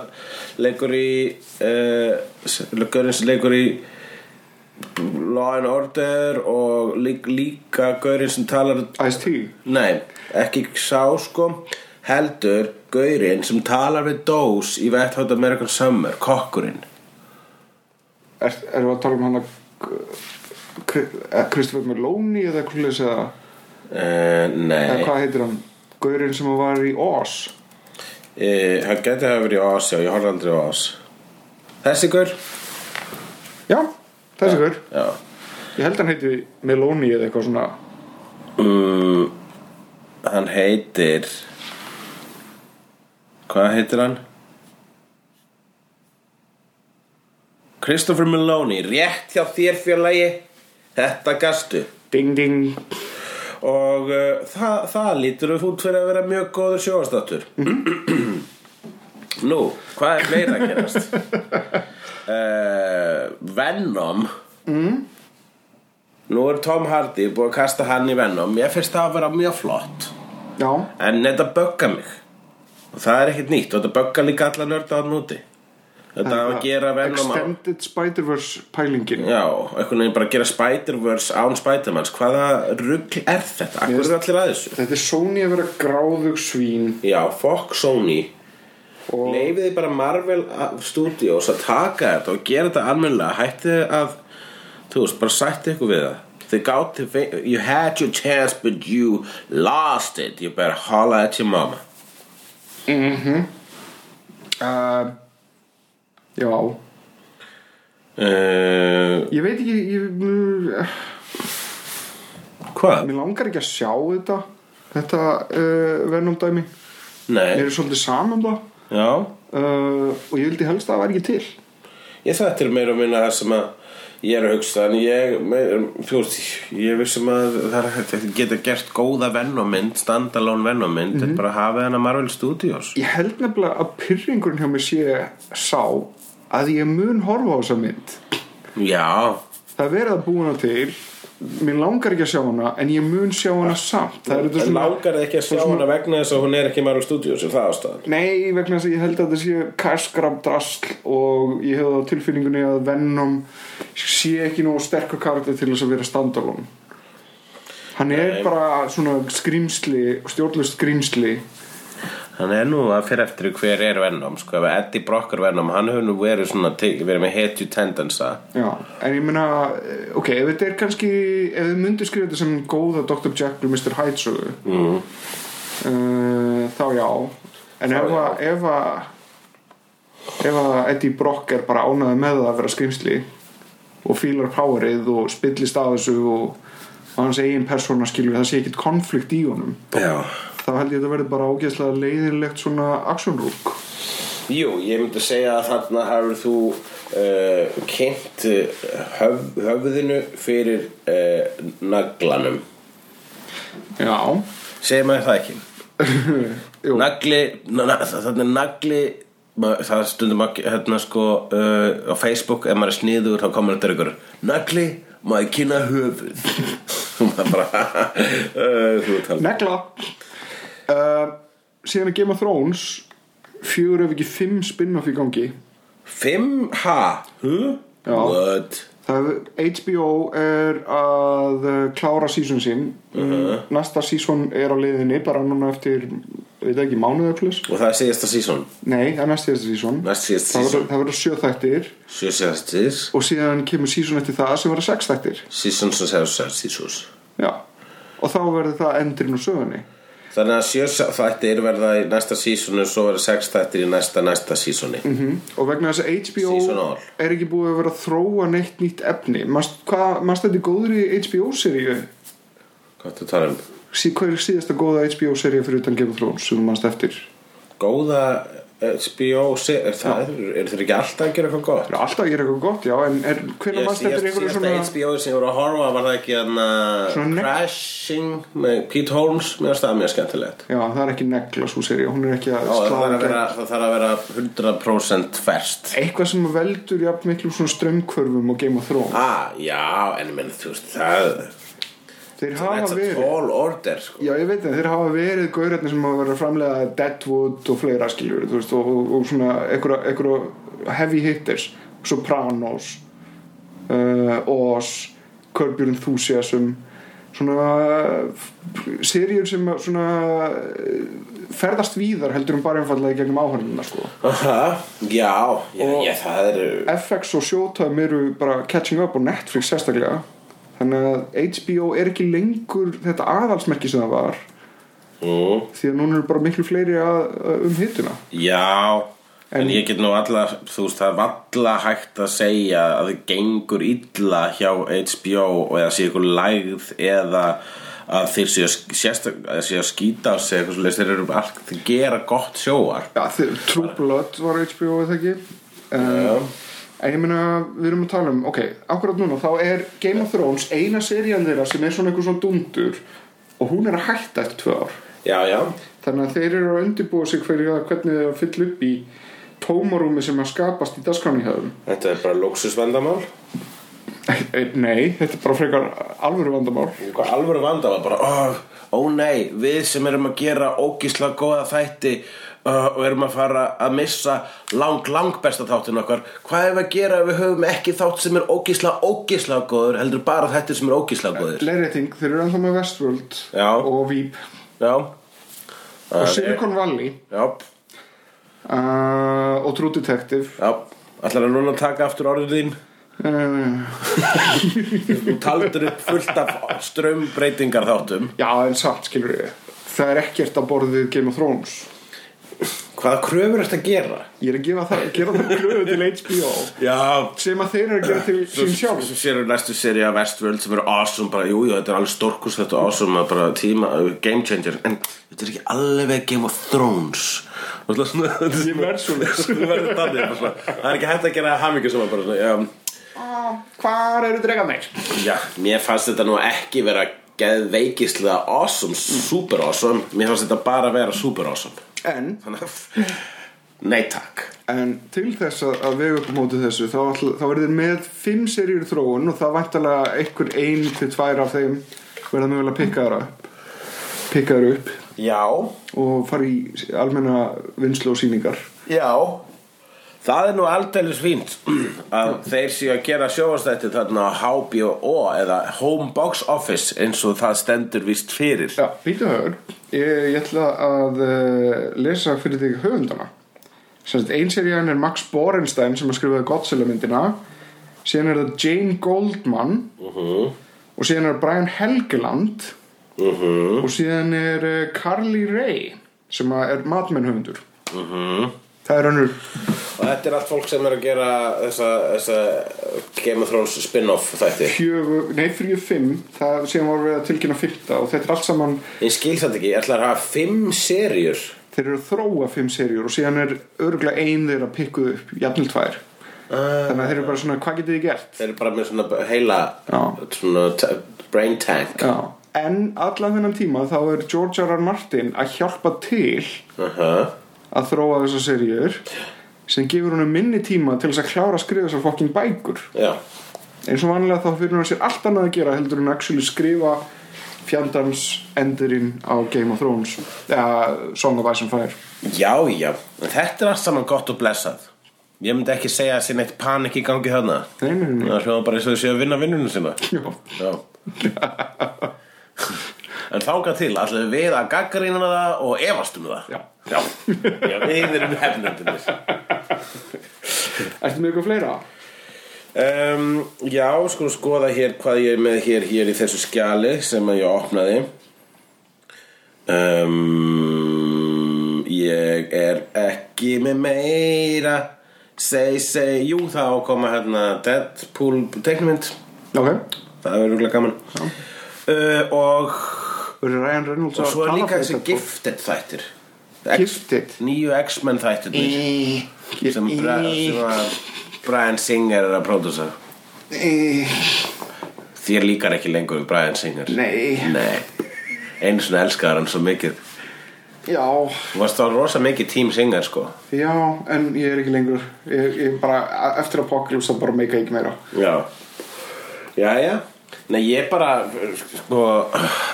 [SPEAKER 3] leikur í uh, s- gaurinn sem leikur í Law and Order og lík, líka gaurinn sem talar
[SPEAKER 4] Ice-T?
[SPEAKER 3] Nei, ekki sá sko heldur gaurinn sem talar við Dós í Wet Hot American Summer kokkurinn
[SPEAKER 4] Er, erum við að tala um hana Kristoffer Meloni eða eitthvað leys eða,
[SPEAKER 3] uh,
[SPEAKER 4] eða
[SPEAKER 3] Nei,
[SPEAKER 4] Eh, hvað heitir hann? Gaurinn sem var í Oz?
[SPEAKER 3] Eh, hann geti hafa verið í Oz já, ég horfði aldrei á Oz Þessi gaur?
[SPEAKER 4] Já, þessi gaur.
[SPEAKER 3] Já
[SPEAKER 4] Ég held hann heiti Meloni eða eitthvað svona,
[SPEAKER 3] mm, Hann heitir Hvað heitir hann? Christopher Maloney, rétt hjá þér félagi Þetta gastu
[SPEAKER 4] ding ding,
[SPEAKER 3] og uh, það, það lítur út fyrir að vera mjög góður sjóastáttur Nú, hvað er meira að gerast? uh, Venom Nú er Tom Hardy búið að kasta hann í Venom Ég finnst það að vera mjög flott
[SPEAKER 4] já,
[SPEAKER 3] En þetta bögga mig Og það er ekkert nýtt og þetta bögga líka alla nörda hann úti Þetta að gera Venom á-
[SPEAKER 4] Extended Spider-Verse pælingin.
[SPEAKER 3] Já, einhvern veginn bara að gera Spider-Verse án Spider-Mans Hvaða rugl er þetta? Akkur er allir að þessu?
[SPEAKER 4] Þetta er Sony að vera gráðug svín
[SPEAKER 3] Já, fuck Sony
[SPEAKER 4] Og-
[SPEAKER 3] Leifiði uh, bara Marvel að- Studios að taka þetta og gera þetta almennilega Hætti að þú veist, bara sætti ykkur við það þið gátti, fe- you had your chance but you lost it you better holla at your mama
[SPEAKER 4] uh, Já
[SPEAKER 3] uh,
[SPEAKER 4] Ég veit ekki ég, mm,
[SPEAKER 3] hvað?
[SPEAKER 4] Mér langar ekki að sjá þetta Þetta uh, Venom dæmi Mér
[SPEAKER 3] nei,
[SPEAKER 4] er svolítið saman um það
[SPEAKER 3] já
[SPEAKER 4] uh, Og ég vildi helst að það væri ekki til
[SPEAKER 3] ég þetta er meira og minna það sem að ég er að hugsa en ég, fjóst, ég vissum að það er hægt að geta gert góða vennómynd, standalone vennómynd mm
[SPEAKER 4] Mhm.
[SPEAKER 3] -hmm. bara hafa hennar Marvel Studios
[SPEAKER 4] Ég held nefnilega að pyrringurinn hjá mér sé sá að ég mun horfa á þessa mynd.
[SPEAKER 3] já,
[SPEAKER 4] Það er verið að búa hana til, mér langar ekki að sjá hana, en ég mun sjá hana samt. Það er þetta
[SPEAKER 3] en
[SPEAKER 4] svona...
[SPEAKER 3] langar þið ekki að sjá hana vegna þess að hún er ekki Marvel Studios er það ástæðan
[SPEAKER 4] Nei, vegna þess að ég held að þetta sé kærskrab drasl og ég hefði á tilfinningunni að Venom sé ekki nógu sterkur karakter til þess að vera standalón. Hann er
[SPEAKER 3] Nei.
[SPEAKER 4] bara svona skrýmsli, stjórnlust skrýmsli.
[SPEAKER 3] Hann er nú að fyrir eftir því hver er Venom sko, ef Eddie Brock er Venom, hann hefur nú verið svona, til- verið með hetju tendensa
[SPEAKER 4] Já, en ég meina, eh, ok, ef þetta er kannski, ef þið myndu skrifa þetta sem góða Dr. Jekyll og Mr. Hyde sögu,
[SPEAKER 3] mm.
[SPEAKER 4] uh, þá já, en
[SPEAKER 3] Þá
[SPEAKER 4] ef að, ef að, ef að Eddie Brock er bara ánæði með það að vera skrimsli og fílar powerið og spillist að þessu og, og hans eigin persóna skilur, það sé ekkit konflikt í honum,
[SPEAKER 3] Já
[SPEAKER 4] þá held ég þetta verði bara ágæðslega leiðilegt svona actionrúk.
[SPEAKER 3] Jú, ég myndi segja að þarna hefur þú uh, kynnt uh, höf, höfðinu fyrir uh, naglanum
[SPEAKER 4] Já,
[SPEAKER 3] segir maður það ekki
[SPEAKER 4] Jú.
[SPEAKER 3] nagli na, na, þannig nagli ma- það er stundum að hérna sko uh, á Facebook ef maður er sniður þá komur þetta ykkur nagli maður kynna höfuð og maður bara uh, þú ert alveg-
[SPEAKER 4] Negla uh, Síðan að Game of Thrones Fjögur ef ekki fimm spin-off í gangi
[SPEAKER 3] fimm ha huh?
[SPEAKER 4] Já.
[SPEAKER 3] what
[SPEAKER 4] Það er HBO er að uh, klára sísón sín
[SPEAKER 3] Mhm.
[SPEAKER 4] Mm, Næsta sísón er á leiðinni Bara núna eftir, veit ekki, mánuðu plus
[SPEAKER 3] og það er síðasta sísón
[SPEAKER 4] Nei, það er næst síðasta sísón
[SPEAKER 3] næst síðasta
[SPEAKER 4] Það
[SPEAKER 3] sísón
[SPEAKER 4] verður- það verður sjö þættir
[SPEAKER 3] sjö síðasta sís
[SPEAKER 4] Og síðan kemur sísón eftir það sem verður sex þættir
[SPEAKER 3] sísón sem segir sér sísús
[SPEAKER 4] Já Og þá verður það endurinn úr sögunni
[SPEAKER 3] þannig að sjö þættir verða í næsta sísónu og svo verða sex þættir í næsta næsta sísóni mm -hmm.
[SPEAKER 4] Mhm. og vegna þess að HBO
[SPEAKER 3] Seasonal.
[SPEAKER 4] er ekki búið að vera að þróa neitt nýtt efni Manst- hvað- manst þetta í góðri HBO-seríu
[SPEAKER 3] hvað ertu að tala um?
[SPEAKER 4] sí, hver er síðasta góða HBO-serja fyrir utan Game of Thrones sem þú mannst eftir það
[SPEAKER 3] góða eh, HBO se- er það, eru er þeir ekki alltaf að gera eitthvað gott
[SPEAKER 4] er alltaf að gera eitthvað gott, já en er, hvernig mannst eftir einhverju
[SPEAKER 3] síðasta
[SPEAKER 4] svona
[SPEAKER 3] HBO sem ég voru að horfa var það ekki hana,
[SPEAKER 4] Svona next-
[SPEAKER 3] Crashing með Pete Holmes mér finnst það mjög skemmtilegt
[SPEAKER 4] já, það er ekki negla svo serja, hún er ekki að
[SPEAKER 3] Ó, það,
[SPEAKER 4] slá
[SPEAKER 3] þarf að
[SPEAKER 4] gegn-
[SPEAKER 3] vera, það þarf að vera 100% færst
[SPEAKER 4] eitthvað sem veldur jafn miklu svona strömmkörfum og Game of Thrones
[SPEAKER 3] ah, já, en ég menn þú veist það
[SPEAKER 4] þeir hafa
[SPEAKER 3] that's a
[SPEAKER 4] verið
[SPEAKER 3] tall order sko.
[SPEAKER 4] Já, ég veit það, þeir hafa verið gaurarnir sem hafa verið að framlega Deadwood og fleira skiljur þú veist, og, og, og svona einhverja, einhverja heavy hitters, Sopranos uh, Oz Curb Your Enthusiasm svona uh, seríur sem að svona uh, ferðast víðar heldur um bara einfallega í gegnum áhörnina sko.
[SPEAKER 3] Aha, já, já,
[SPEAKER 4] Og-
[SPEAKER 3] já, það er
[SPEAKER 4] FX og Showtime eru bara catching up og Netflix sérstaklega þannig að HBO er ekki lengur þetta aðalsmerki sem það var
[SPEAKER 3] mm,
[SPEAKER 4] því að núna eru bara miklu fleiri að, að um hittuna
[SPEAKER 3] Já En,
[SPEAKER 4] En-
[SPEAKER 3] ég get nú alla, þú veist, það er valla hægt að segja að það gengur illa hjá HBO og eða sé ykkur lægð eða að þeir séu að, sérstak, að, séu að skýta á sig eitthvað svoleiðis, þeir eru allt, þeir gera gott sjóar
[SPEAKER 4] Já, þeir- True Blood var HBO eða ekki um, En ég meina, við erum að tala um, ok, akkurat núna þá er Game of Thrones eina serían þeirra sem er svona einhver svona dundur og hún er að hætta eftir tvö ár
[SPEAKER 3] Já, já
[SPEAKER 4] þannig að þeir eru að undirbúa sig fyrir það hvernig þeir að fylla upp í tómarúmi sem að skapast í dagskráni höfum
[SPEAKER 3] Þetta er bara luxusvendamál
[SPEAKER 4] Eh, Nei, þetta er bara frekar alvöru vandamál
[SPEAKER 3] Hvað alvöru vandamál, bara oh, Ó nei, við sem erum að gera ógísla góða þætti uh, og erum að fara að missa lang, lang besta þáttin okkar Hvað er að gera ef við höfum ekki þátt sem er ógísla, ógísla góður heldur bara þættir sem er ógísla góður
[SPEAKER 4] Leirreiting, þeir eru ennþá með Westworld
[SPEAKER 3] Já.
[SPEAKER 4] og Veep
[SPEAKER 3] Já
[SPEAKER 4] og
[SPEAKER 3] Það er-
[SPEAKER 4] Silicon Valley
[SPEAKER 3] Já,
[SPEAKER 4] uh, og True Detective
[SPEAKER 3] já Ætlar að núna taka aftur orðið þín
[SPEAKER 4] uh,
[SPEAKER 3] Þú taldur upp fullt af strömbreytingar þáttum
[SPEAKER 4] Já, en samt skilur ég Það er ekkert að borðið Game of Thrones
[SPEAKER 3] Hvaða kröfur ertu að gera?
[SPEAKER 4] Ég er að gefa það, gera það kröfu til HBO
[SPEAKER 3] Já,
[SPEAKER 4] sem að þeir eru að gera til
[SPEAKER 3] Svo
[SPEAKER 4] sín sjálf
[SPEAKER 3] svo sér við næstu seri af Westworld sem eru awesome bara, jú, jú, þetta er alveg stórkust þetta er awesome, að bara tíma, uh, game changer en þetta er ekki alveg Game of Thrones og svona, svona
[SPEAKER 4] Ég verð svoleiðis.
[SPEAKER 3] Þú verður þannig, bara svona, það er ekki hægt að gera hamingu sem bara, svona, já,
[SPEAKER 4] Hvar eru drega meir?
[SPEAKER 3] já, mér fannst þetta nú ekki vera geðveikislega awesome, super awesome mér fannst þetta bara vera super awesome
[SPEAKER 4] En,
[SPEAKER 3] þannig að, nei takk
[SPEAKER 4] en til þess að, að vega upp á móti þessu þá, ætla, þá verður með fimm seríur í þróun og það væntalega einhver ein til tvær af þeim verða mögulega pikkaðara pikkaðara upp
[SPEAKER 3] Já,
[SPEAKER 4] og fara í almenna vinslu og sýningar
[SPEAKER 3] Já Það er nú aldeilis fínt að þeir séu að gera sjóastætti þarna á HBO eða Home Box Office eins og það stendur vist fyrir
[SPEAKER 4] Já, býtu höfur ég, ég ætla að uh, lesa fyrir þig höfundana Sannst, ein serían er Max Borenstein sem að skrifaði Godzilla myndina síðan er það Jane Goldman og síðan er Brian Helgeland -huh. og síðan er uh, Carly Rae sem að er matmenn höfundur -huh. það er önnur
[SPEAKER 3] Og þetta er allt fólk sem er að gera þessa, þessa Game of Thrones spin-off þætti
[SPEAKER 4] fjögur, nei þrjú fimm það sem var við að tilkynna fyrta og þetta er allt saman
[SPEAKER 3] Ég skil þetta ekki, ég ætla að hafa fimm serjur
[SPEAKER 4] þeir eru að þróa fimm serjur og síðan er örgulega ein þeirra pikkuð upp jafnil tvær þannig að þeir eru bara svona hvað getið þið gert
[SPEAKER 3] Þeir eru bara með svona heila
[SPEAKER 4] Já.
[SPEAKER 3] svona t- brain tank
[SPEAKER 4] Já. en allan þennan tíma þá er George R. R. Martin að hjálpa til
[SPEAKER 3] uh -huh.
[SPEAKER 4] að þróa þessar serjur sem gefur honum minni tíma til þess að klára að skrifa þessar fokkin bækur
[SPEAKER 3] Já
[SPEAKER 4] eins og vanlega þá fyrir hann sér allt annað að gera heldur en actually skrifa fjandans endurinn á Game of Thrones eða Song of Ice and Fire
[SPEAKER 3] Já, já, en þetta er allt saman gott og blessað Ég myndi ekki segja að sé neitt panik í gangi þarna
[SPEAKER 4] Nei, nei, nei.
[SPEAKER 3] Það hljóðum bara eins og þau séu að vinna vinnunum sína
[SPEAKER 4] Já.
[SPEAKER 3] Já En þáka til, ætlum við að gaggarýna það og efast um það
[SPEAKER 4] Já.
[SPEAKER 3] Já, já við erum hefnendinir
[SPEAKER 4] Ertu með eitthvað fleira?
[SPEAKER 3] um, Já, sko skoða hér hvað ég er með hér, hér í þessu skjali sem að ég opnaði um, Ég er ekki með meira Seg, seg, jú þá koma hérna Deadpool teiknumynd
[SPEAKER 4] Ok,
[SPEAKER 3] Það verður rúglega gaman uh, Og
[SPEAKER 4] verður Ryan Reynolds
[SPEAKER 3] Og
[SPEAKER 4] að
[SPEAKER 3] svo er
[SPEAKER 4] tala
[SPEAKER 3] líka
[SPEAKER 4] fyrir
[SPEAKER 3] þessi
[SPEAKER 4] þetta?
[SPEAKER 3] gifted þættir
[SPEAKER 4] Gifted?
[SPEAKER 3] Nýju X-Men þættir
[SPEAKER 4] Í-
[SPEAKER 3] sem, Bra
[SPEAKER 4] í-
[SPEAKER 3] sem að Brian Singer er að pródusa
[SPEAKER 4] Í-
[SPEAKER 3] Þér líkar ekki lengur um Brian Singer
[SPEAKER 4] Nei,
[SPEAKER 3] Nei Einu svona elskaðar hann svo mikið
[SPEAKER 4] já,
[SPEAKER 3] Þú varst þá rosa mikið Team Singer sko
[SPEAKER 4] já, en ég er ekki lengur Ég, ég bara, a- eftir Apocalypse þá bara meika ég ekki meira
[SPEAKER 3] Já Jæja Nei ég bara sko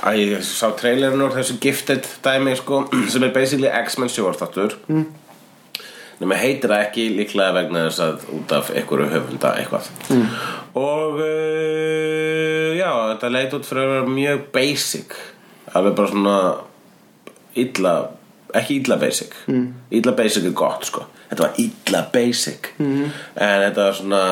[SPEAKER 3] að ég sá trailerinn úr þessu gifted dæmi sko sem er basically X-Men sjóarstáttur mm. nema heitir það ekki líklega vegna þess að út af einhverju höfunda eitthvað mm. og uh, já þetta leit út fyrir að vera mjög basic alveg bara svona illa ekki illa basic mm. illa basic er gott sko þetta var illa basic mm. en þetta var svona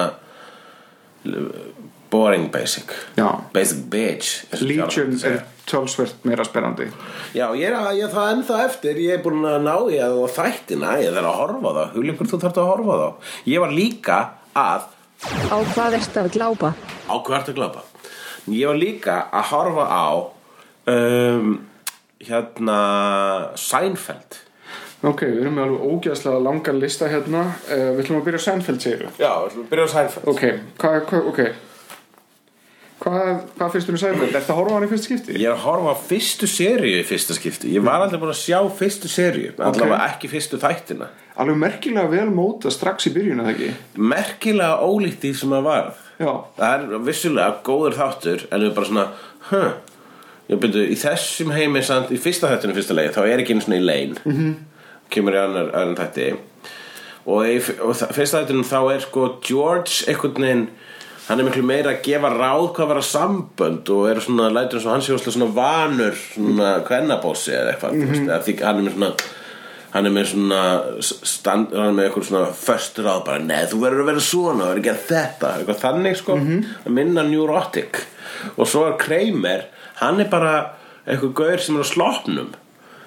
[SPEAKER 3] boring basic
[SPEAKER 4] Já.
[SPEAKER 3] basic bitch eins og
[SPEAKER 4] Legion
[SPEAKER 3] Kjartan
[SPEAKER 4] er
[SPEAKER 3] segir.
[SPEAKER 4] tölsvert meira spennandi
[SPEAKER 3] já ég er að ég er það ennþá eftir ég er búin að ná ég að og þættina ég þarf að horfa á þá hulikur þú þarf að horfa á þá ég var líka að
[SPEAKER 5] Á hvað ert að glápa?
[SPEAKER 3] á hvert að glöpa ég var líka að horfa á um, hérna Seinfeld
[SPEAKER 4] Ok, við erum með alveg ógeðslega langan lista hérna uh, Við ætlum að byrja á Seinfeld, segir
[SPEAKER 3] já við ætlum að byrja á Seinfeld
[SPEAKER 4] Ok, hvað, hvað, ok Hvað, hvað finnst þú um Seinfeld? Ertu að horfa á hann í fyrst skipti?
[SPEAKER 3] Ég er að horfa á fyrstu seríu í fyrsta skipti Ég var aldrei búin að sjá fyrstu seríu Allavega ekki fyrstu þættina
[SPEAKER 4] Alveg merkilega vel móta strax í byrjun, eða ekki?
[SPEAKER 3] merkilega ólíkt því sem það var
[SPEAKER 4] Já.
[SPEAKER 3] það er vissulega góður þáttur en við bara svona huh, ég byrju, í þessum heimi samt, í fyrsta þættinu fyrsta leið þá er ekki einu svona í lein mm -hmm. kemur í annar, annar þætti og, í, f- og það, fyrsta þættinu þá er sko George einhvern veginn hann er miklu meira að gefa ráð hvað vera sambönd og er svona lætur eins og hann sé óslega svona vanur svona kvennabósi eða eitthvað mm -hmm. því hann er með svona hann er með svona stand, hann er með eitthvað svona föst ráð bara, neð, þú verður að vera svona þú verður að gera þetta, eitthvað þannig sko að minna neurotic og svo er Kramer, hann er bara eitthvað gaur sem er á slopnum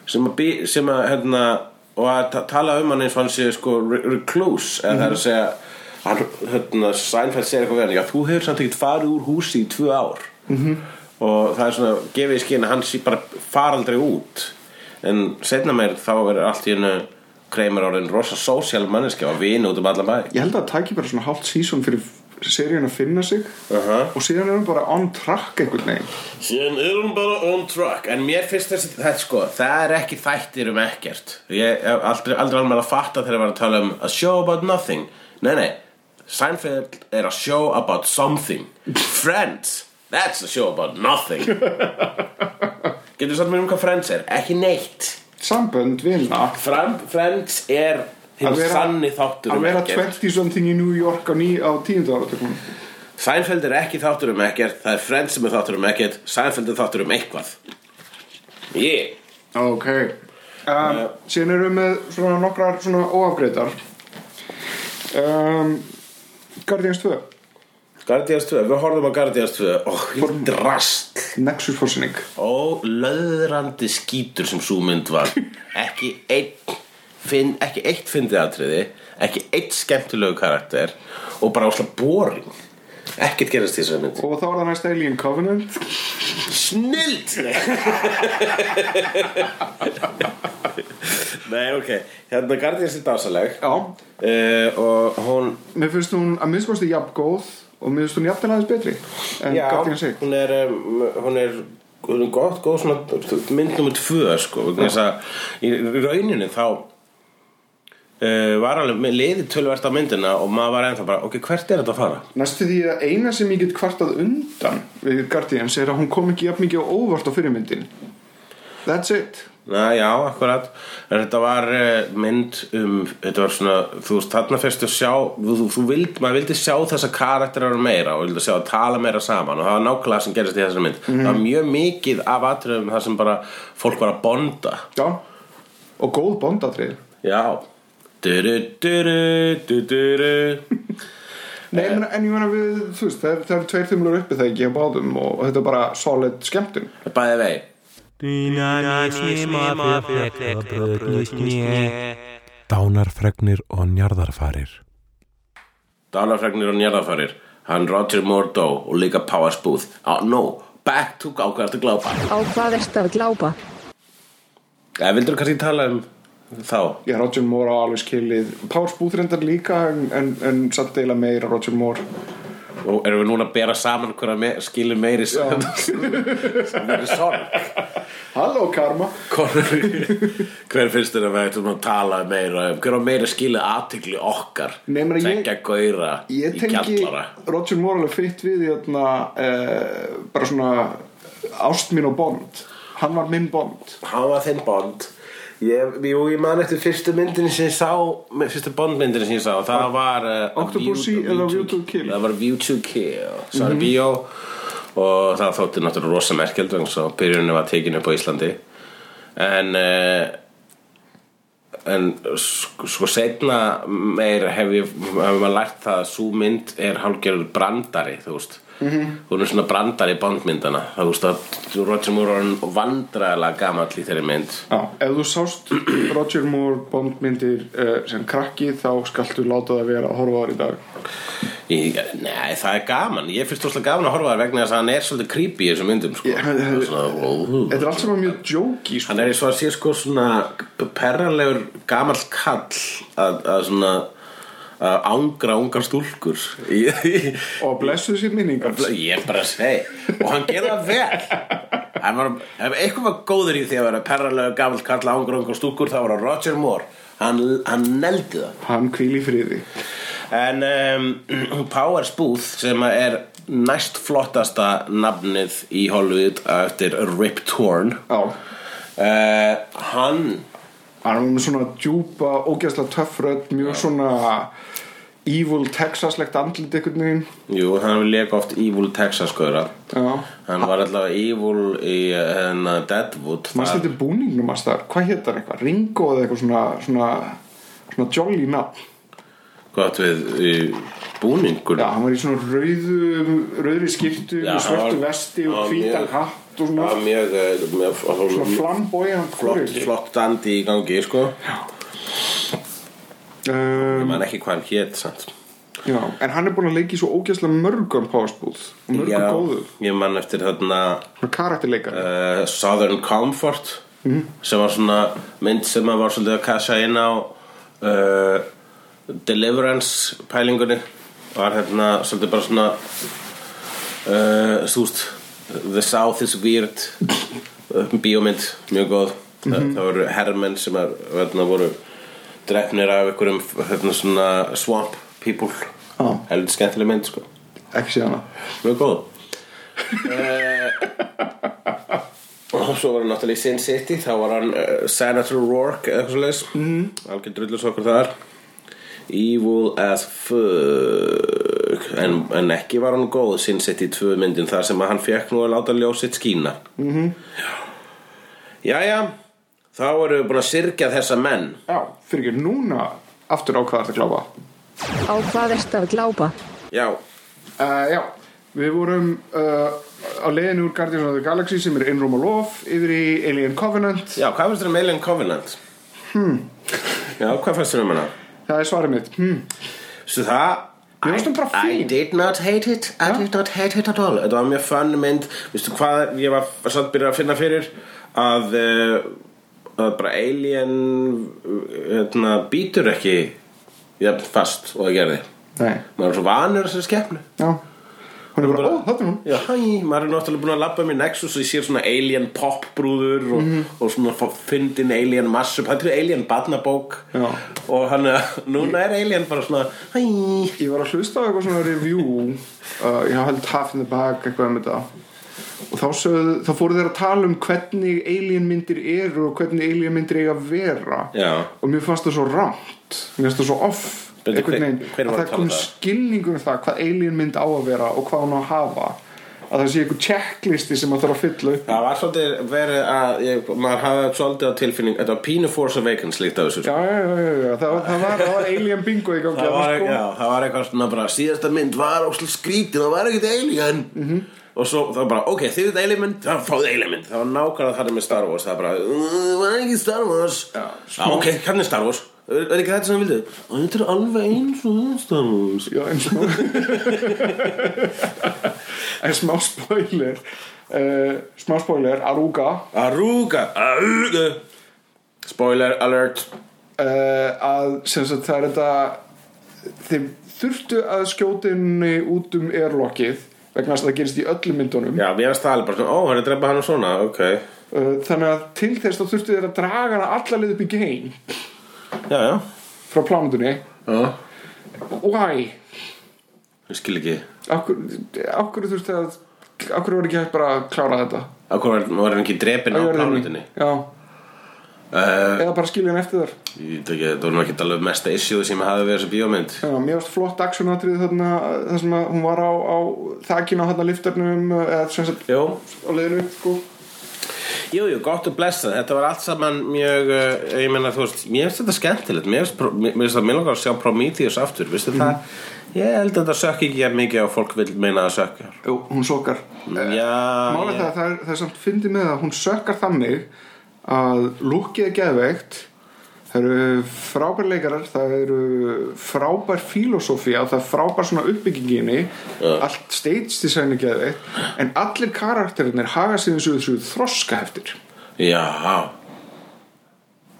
[SPEAKER 3] sem að, bí- sem að hérna, og að ta- tala um hann eins og hann sé sko re- recluse, eða það er að segja hann, hérna, Seinfeld segir eitthvað við hann já, þú hefur samt ekkert farið úr húsi í tvö ár -hmm. og það er svona gefið í skinn að hann sé bara fara aldrei út en setna meir þá er allt í hennu kreimur orðin rosa sósíal manneskja og vini út um alla bæ
[SPEAKER 4] ég held að það taki bara svona hálft sísón fyrir seríun að finna sig
[SPEAKER 3] Aha.
[SPEAKER 4] og síðan er hún bara on track einhvern veginn
[SPEAKER 3] Síðan er hún bara on track En mér finnst þessi, það, sko, það er ekki þættir um ekkert Ég hef aldrei, aldrei alveg að fatta þegar ég var að tala um A show about nothing Nei, nei, Seinfeld er a show about something Friends, that's a show about nothing Getur sagt mér um hvað Friends er? Ekki neitt
[SPEAKER 4] sambönd vinna
[SPEAKER 3] Fram, Friends er hinn
[SPEAKER 4] Að vera-
[SPEAKER 3] sanni þáttur
[SPEAKER 4] að
[SPEAKER 3] um
[SPEAKER 4] vera
[SPEAKER 3] ekkert
[SPEAKER 4] 20 something í New York á, ný, á tíundu áratökunum
[SPEAKER 3] Seinfeld er ekki þáttur um ekkert Það er Friends sem er þáttur um ekkert Seinfeld er þáttur um eitthvað Yeah
[SPEAKER 4] ok um, síðan erum við með svona nokkrar svona óafgreitar um, Guardians 2
[SPEAKER 3] Guardians 2, við horfum á Guardians 2 og oh, drast
[SPEAKER 4] Nexus fórsynning
[SPEAKER 3] og löðrandi skítur sem svo mynd var ekki einn finn, ekki eitt fyndið atriði ekki eitt skemmtilegu karakter og bara ásla boring ekkert gerast í þessu mynd
[SPEAKER 4] og þá er það næst Alien Covenant
[SPEAKER 3] snild nei ok hérna Guardians er dásaleg
[SPEAKER 4] já,
[SPEAKER 3] uh, og hún
[SPEAKER 4] mér finnst hún að minnstkosti jafn góð og mér finnst hún jafn aðeins betri en Guardians 1
[SPEAKER 3] hún er um, hún er hún er gott, góð svona mynd nummer tvö sko, vegna þess að í í rauninni þá uh, var alveg með liði tölvert á myndina og maður var ennþá bara, ok, hvert er þetta að fara?
[SPEAKER 4] Næstu því að eina sem ég get kvartað undan við Guardians er að hún kom ekki jafn mikið á óvart á fyrirmyndin That's it
[SPEAKER 3] Na, já, akkurat en þetta var eh, mynd um þetta var svona, þú veist, þarna fyrst að sjá þú, þú, þú vild, maður vildi sjá þessa karakterar meira og vildi sjá að tala meira saman og það var nákvæmlega það sem gerist í þessari mynd það var mjög mikið af atriðum þar sem bara fólk var að bonda
[SPEAKER 4] Já Og góð bondatrið
[SPEAKER 3] Já Duru, duru, duru, duru
[SPEAKER 4] Nei, en, en ég meina við, þú veist, það, er- það eru tveir þumlur uppi þegar ekki á báðum og, og þetta er bara solid skemmtun
[SPEAKER 3] Bæði vei
[SPEAKER 6] Dynamísni smabrið, bröðnusni.
[SPEAKER 7] Dánarfregnir og njarðarfarir.
[SPEAKER 3] Dálafregnir og njörðarfarir Hann Roger Moore dó og líka Powers Booth ah, No, back to ákvæðast að glápa
[SPEAKER 5] Á hvað ert að glápa?
[SPEAKER 3] Eða vildur kannski tala um þá
[SPEAKER 4] Já, Roger Moore á alveg skilið Powers Booth reyndar líka en, en, en satt deila meira Roger Moore
[SPEAKER 3] Og erum við núna að bera saman hverja me skilur meiri sem er sorg
[SPEAKER 4] Halló Karma
[SPEAKER 3] Hver hver finnst þér að við ættum að tala meira um Hver á meira skilið aðtikli okkar
[SPEAKER 4] Nei, meina, ég-
[SPEAKER 3] Tveggja gauðra í
[SPEAKER 4] Ég tengi
[SPEAKER 3] kjallara
[SPEAKER 4] Roger Moore alveg fyrt við í þarna eh, bara svona ást mín og bond Hann var minn bond
[SPEAKER 3] hann var þinn Bond ég, jú, ég man eftir fyrstu myndinu sem ég sá fyrstu Bondmyndinu sem ég sá það var uh,
[SPEAKER 4] Octopussy eða View to Kill? Mhm.
[SPEAKER 3] það var View to Kill Sari Bíó og það þótti náttúrulega rosa merkjöld og svo byrjunni var tekinu upp á Íslandi en uh, en sk- sko setna meir hef ég hef maður lært það að svo mynd er hálfgerður brandari þú veist
[SPEAKER 4] Mhm.
[SPEAKER 3] -hmm. hún er svona brandari bondmyndana þú veist að Roger Moore var hann vandræðilega gamall í þeirri mynd
[SPEAKER 4] Já, ef þú sást Roger Moore bondmyndir uh, sem krakki þá skaltu láta það vera að horfa þar í dag
[SPEAKER 3] ég, nei það er gaman ég finnst þú gaman að horfa þær vegna þess að hann er svolítið creepy í þessum myndum sko.
[SPEAKER 4] Ég-
[SPEAKER 3] yeah. svona,
[SPEAKER 4] Þetta er allt saman mjög jóki sko.
[SPEAKER 3] hann er svo að sé sko svona perralegur gamall kall að, að svona að angra ungar stúlkur í, í,
[SPEAKER 4] og blessuð sér minningar
[SPEAKER 3] Ég er bara að segja Og hann gerði það vel Hann var, ef eitthvað var góður í því að vera perralega gamall kalla ángrung og stúkur þá var hann Roger Moore Hann, hann neldi það
[SPEAKER 4] Hann hvíl í friði
[SPEAKER 3] En um, Powers Booth sem er næst flottasta nafnið í Hollywood á eftir Rip Torn
[SPEAKER 4] Já,
[SPEAKER 3] uh, Hann
[SPEAKER 4] hann var með svona djúpa, ógæsla töff rödd mjög svona evil Texas-legt andlit einhvern veginn
[SPEAKER 3] Jú, hann leik oft Evil Texas skoðra
[SPEAKER 4] Já.
[SPEAKER 3] Hann var allavega Evil í hennar Deadwood
[SPEAKER 4] Manstu
[SPEAKER 3] Þar-
[SPEAKER 4] þetta búningnum að staðar, hvað hétt hann eitthvað? Ringo eða eitthvað svona, svona, svona jolly nafn.
[SPEAKER 3] Gott við í búningur
[SPEAKER 4] Já, hann var í svona rauðu, rauðri skýrtu,
[SPEAKER 3] Já,
[SPEAKER 4] með svörtu
[SPEAKER 3] hann var-
[SPEAKER 4] vesti og
[SPEAKER 3] hann var
[SPEAKER 4] hvítan
[SPEAKER 3] mjög-
[SPEAKER 4] hatt og
[SPEAKER 3] Það
[SPEAKER 4] svona,
[SPEAKER 3] var mjög, eh, mjög
[SPEAKER 4] svona flamboyant
[SPEAKER 3] flott,
[SPEAKER 4] kúrili.
[SPEAKER 3] flott dandi í gangi sko.
[SPEAKER 4] Um,
[SPEAKER 3] Man ekki hvað hann hét sant.
[SPEAKER 4] já, en hann er búin að leika í svo ógæslega mörgum pásbúð og mörgum
[SPEAKER 3] Já,
[SPEAKER 4] góðu.
[SPEAKER 3] Ég man eftir þarna
[SPEAKER 4] Svona karakterleikar.
[SPEAKER 3] uh, Southern Comfort sem var svona mynd sem maður var svolítið að kassa inn á uh, Deliverance pælingunni var hérna svolítið bara svona uh, súst The South is Weird uh, bíómynd, mjög góð mm það voru herrmenn sem er, hérna, voru drefnir af einhverjum hérna, svona swamp people
[SPEAKER 4] Já.
[SPEAKER 3] heldur skemmtileg mynd sko
[SPEAKER 4] ekki séð hana.
[SPEAKER 3] Mjög góð uh, Eh, Og svo var hann náttúrulega í Sin City Þá var hann uh, Senator Rourke eða eitthvað svo leis mm. Algjör drullus okkur þar Evil as fuck en, en ekki var hann góð Sin City 2 myndin Þar sem að hann fekk nú að láta ljósitt skína mm -hmm. Jæja Þá erum við búin að syrkja þessa menn
[SPEAKER 4] Já, fyrir ekki núna aftur á hvað þetta glápa.
[SPEAKER 5] Á hvað ert að glápa?
[SPEAKER 3] Já,
[SPEAKER 4] Uh, já, við vorum uh, á leiðinu úr Guardians of the Galaxy sem er innrúm og lof yfir í Alien Covenant.
[SPEAKER 3] já hvað fannst þér um Alien Covenant? Hmm. Já, hvað fannst þér um hana?
[SPEAKER 4] Það er svarið mitt. Hmm.
[SPEAKER 3] Svo það
[SPEAKER 4] Mér finnst hún bara
[SPEAKER 3] I- I
[SPEAKER 4] fín.
[SPEAKER 3] did not hate it I did not hate it at all Þetta var mjög fun mynd Vistu hvað ég var samt byrjað að finna fyrir Að, uh, að bara alien uh, hérna, Býtur ekki Jafn fast og það gerði
[SPEAKER 4] Nei,
[SPEAKER 3] Maður er svo vanur þessu skepnu
[SPEAKER 4] já. Hún er bara, ó, þetta er hún.
[SPEAKER 3] Já, hæ, maður er náttúrulega búin að labba um í Nexus og ég sér svona alien popbrúður og,
[SPEAKER 4] Mhm.
[SPEAKER 3] og svona fá- fyndin alien massup Þetta er alien barnabók
[SPEAKER 4] Já.
[SPEAKER 3] Og hann, eh, núna er alien bara svona Hæ,
[SPEAKER 4] Ég var að hlusta á eitthvað svona review, uh, ég held Half in the Bag eitthvað um þetta. Og þá, sögðu, þá fóru þeir að tala um hvernig alien myndir eru og hvernig alien myndir eiga að vera.
[SPEAKER 3] Já.
[SPEAKER 4] Og mér fannst það svo rámt, mér fannst það svo off.
[SPEAKER 3] Bíddu,
[SPEAKER 4] einhvern
[SPEAKER 3] hver-
[SPEAKER 4] veginn.
[SPEAKER 3] hver var
[SPEAKER 4] að
[SPEAKER 3] að
[SPEAKER 4] það
[SPEAKER 3] tala um
[SPEAKER 4] kom
[SPEAKER 3] það?
[SPEAKER 4] skilningur um það hvað alien mynd á að vera og hvað hún á að hafa. Að það sé einhver checklisti sem maður þarf að fylla upp.
[SPEAKER 3] Það var svolítið verið að ég, maður hafði svolítið á tilfinning þetta var pínu Force Awakens líkt af þessu
[SPEAKER 4] Já,
[SPEAKER 3] sko.
[SPEAKER 4] já, já, já, já. Það, var- það, var, það var alien bingo í gangi.
[SPEAKER 3] það, var,
[SPEAKER 4] þarna, sko.
[SPEAKER 3] já, það var eitthvað svona bara síðasta mynd var ósl skrítið það var ekkert alien og svo það var bara ok þið þetta alien mynd það fáið alien mynd það var nákvæmlega þar með Star Wars það var bara "Mm, það var ekki Star Wars já, sko. ok hvernig Star Wars er, er ekki þetta sem við vildið og þetta er alveg eins og Star Wars
[SPEAKER 4] Já, en smá En smá spoiler uh, Smá spoiler, Aruga
[SPEAKER 3] Aruga Aruga spoiler alert
[SPEAKER 4] uh, að sem sagt það er þetta þeim þurftu að skjótinni út um erlokið vegna þess að það gerist í öllum myndunum uh,
[SPEAKER 3] já mér varst það alveg bara svona ó hann er að drepa hann og svona ok
[SPEAKER 4] Eh, þannig að til þess þá þurftu þeir að draga hana alla leið upp í gein
[SPEAKER 3] já já
[SPEAKER 4] frá plánutunni
[SPEAKER 3] já
[SPEAKER 4] Why?
[SPEAKER 3] ég skil ekki
[SPEAKER 4] Akkur, akkur þurftu að Akkur voru ekki hægt bara að klára þetta
[SPEAKER 3] Akkur var, var hann ekki drepinn á
[SPEAKER 4] Á jörðinni.
[SPEAKER 3] plánutinni
[SPEAKER 4] Já,
[SPEAKER 3] uh,
[SPEAKER 4] eða bara skilja hann eftir þar
[SPEAKER 3] Ég veit ekki, þetta var nú ekki alveg mesta issue sem hafði við þessu bíómynd
[SPEAKER 4] Já, mér varst flott aksjónatrið þarna þar sem að hún var á, á þakinu á þarna liftarnum eða sem sagt
[SPEAKER 3] Jú,
[SPEAKER 4] á leiðinu upp sko
[SPEAKER 3] jú, jú, gott og blessað Þetta var allt saman mjög uh, ég meina, þú veist, mér finnst þetta skemmtilegt mér finnst Pro- mér- mér finnst það mér langar að sjá Prometheus aftur, veistu það ég held að þetta sökki ekki jafn mikið og fólk vil meina að sökja
[SPEAKER 4] Jú, hún sokkar
[SPEAKER 3] Eh, Já,
[SPEAKER 4] Málega það,
[SPEAKER 3] ég,
[SPEAKER 4] að það er, það er samt fyndið með að hún sökkar þannig að lúkið er geðveikt það eru frábær leikarar það eru frábær filosófía það er frábær svona uppbygginginni allt stage design er geðveikt en allir karakterinir haga sig þessu þessu þroska heftir
[SPEAKER 3] já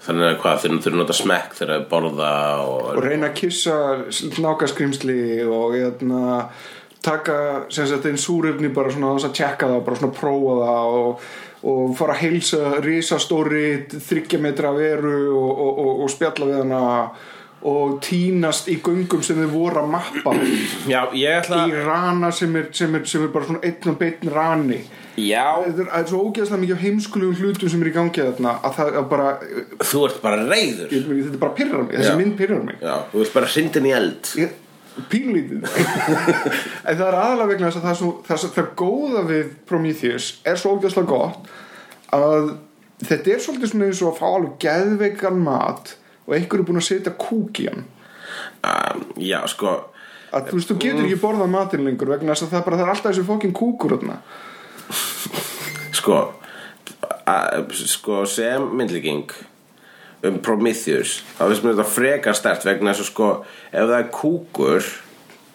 [SPEAKER 3] Þannig að hvað, þeir eru nota smekk þegar þeir borða og,
[SPEAKER 4] og reyna að kissa nákaskrimsli og hérna, taka sem sagt einn súrefni bara svona þess að tjekka það, bara svona prófa það og, og fara að heilsa risastóri þryggja metra veru og, og, og, og spjalla við hana og týnast í göngum sem þið voru að mappa í
[SPEAKER 3] Já, ég ætla
[SPEAKER 4] rana sem er, sem er, sem er bara svona einn og beinn rani
[SPEAKER 3] Já,
[SPEAKER 4] það er, það er svo ógeðslega mikið af heimskulegum hlutum sem er í gangi þarna að það að bara,
[SPEAKER 3] þú ert bara reyður
[SPEAKER 4] ég, þetta bara pyrrar mig
[SPEAKER 3] Já.
[SPEAKER 4] þessi mynd pyrrar mig
[SPEAKER 3] Já, þú ert bara hrindin í eld
[SPEAKER 4] Ég- pínlítið en það er aðalega vegna þess að það, er svo, það, er svo, það góða við Prometheus er svo ógjöðslega gott að þetta er svolítið svona eins og að fá alveg geðveikan mat og einhver er búin að setja kúk í hann
[SPEAKER 3] um, já, sko
[SPEAKER 4] að þú veist, þú getur ekki borðað matinn lengur vegna þess að það er bara, það er alltaf þessi fokkin kúkur þarna
[SPEAKER 3] sko a- sko sem myndlíking um Prometheus þá finnst mér þetta frekar stert vegna þess að sko ef það er kúkur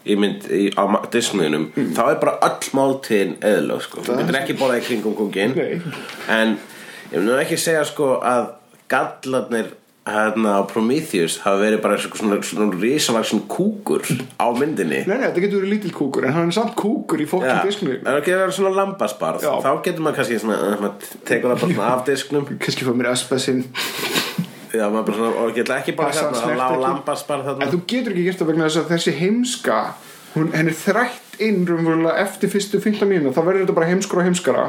[SPEAKER 3] í mynd í, á ma- Disneyinum þá er bara öll máltíðin eðlög sko. þú getur ekki borðað í kringum kúkin
[SPEAKER 4] Nei.
[SPEAKER 3] en ég mun ekki segja sko að gallarnir hérna á Prometheus hafa verið bara svona, svona risavaksin kúkur á myndinni
[SPEAKER 4] Nei, nei, þetta getur verið lítill kúkur en hann er samt kúkur í fokkin
[SPEAKER 3] Já,
[SPEAKER 4] ja.
[SPEAKER 3] ef það getur verið svona lambasbarð
[SPEAKER 4] Já.
[SPEAKER 3] þá getur maður kannski svona, eh, maður tekur það bara svona af disknum
[SPEAKER 4] kannski fá mér espesinn
[SPEAKER 3] Já, maður bara svona, og geta ekki bara hérna, það lág lambasbarð
[SPEAKER 4] en
[SPEAKER 3] þarna
[SPEAKER 4] þú getur ekki gert það vegna þess að þessi heimska hún, henn er þrætt inn raunverulega eftir fyrstu 15 mínu þá verður þetta bara heimskara og heimskara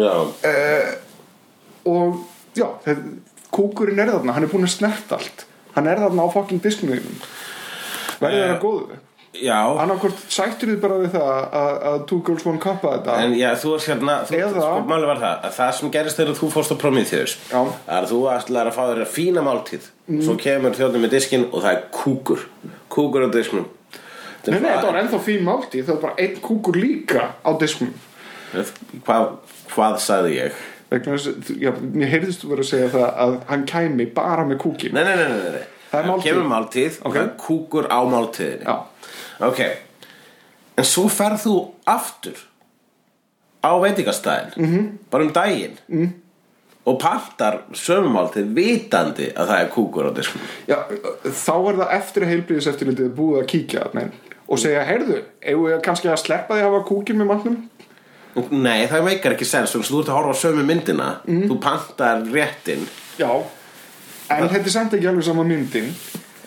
[SPEAKER 3] Já,
[SPEAKER 4] Eh, og já, það, kúkurinn er þarna hann er búin að snerta allt hann er þarna á fokkin disknum þínum. verður
[SPEAKER 3] Eh.
[SPEAKER 4] það góðu
[SPEAKER 3] já,
[SPEAKER 4] annarkvort sættir þið bara við það að, að Two Girls One Cup að þetta
[SPEAKER 3] en já, þú ert hérna þú,
[SPEAKER 4] Eða-
[SPEAKER 3] sko, Máli var það, að það sem gerist þegar þú fórst á Prometheus
[SPEAKER 4] Já. Mm.
[SPEAKER 3] að þú ætlar að fá þér að fína máltíð svo kemur þjóðnum með diskin og það er kúkur kúkur á disknum
[SPEAKER 4] Nei, nei, þetta var ennþá fín máltíð, það var bara einn kúkur líka á disknum
[SPEAKER 3] Hvað, hvað sagði ég?
[SPEAKER 4] vegna þess, að- já, mér heyrðist þú verið að segja það að hann kæmi bara með kúkin
[SPEAKER 3] Nei, nei, nei, nei, nei.
[SPEAKER 4] Það er máltíð.
[SPEAKER 3] Kemur máltíð
[SPEAKER 4] Ok.
[SPEAKER 3] og það er kúkur á máltíðinni
[SPEAKER 4] Já,
[SPEAKER 3] Ok En svo ferð þú aftur á veitingastæðin
[SPEAKER 4] Mhm.
[SPEAKER 3] -hmm. bara um daginn mm. og partar sömumáltið vitandi að það er kúkur á diskum
[SPEAKER 4] já, þá er það eftir að heilbríðis eftirlitið búið að kíkja nei, og segja, heyrðu, eigum við kannski að sleppa því að hafa kúkin með matnum
[SPEAKER 3] Nei, það meikar ekki sens vegna þess að þú ert að horfa á sömu myndina
[SPEAKER 4] Mhm.
[SPEAKER 3] mm. þú pantar réttin
[SPEAKER 4] Já, en þetta er samt ekki alveg sama myndin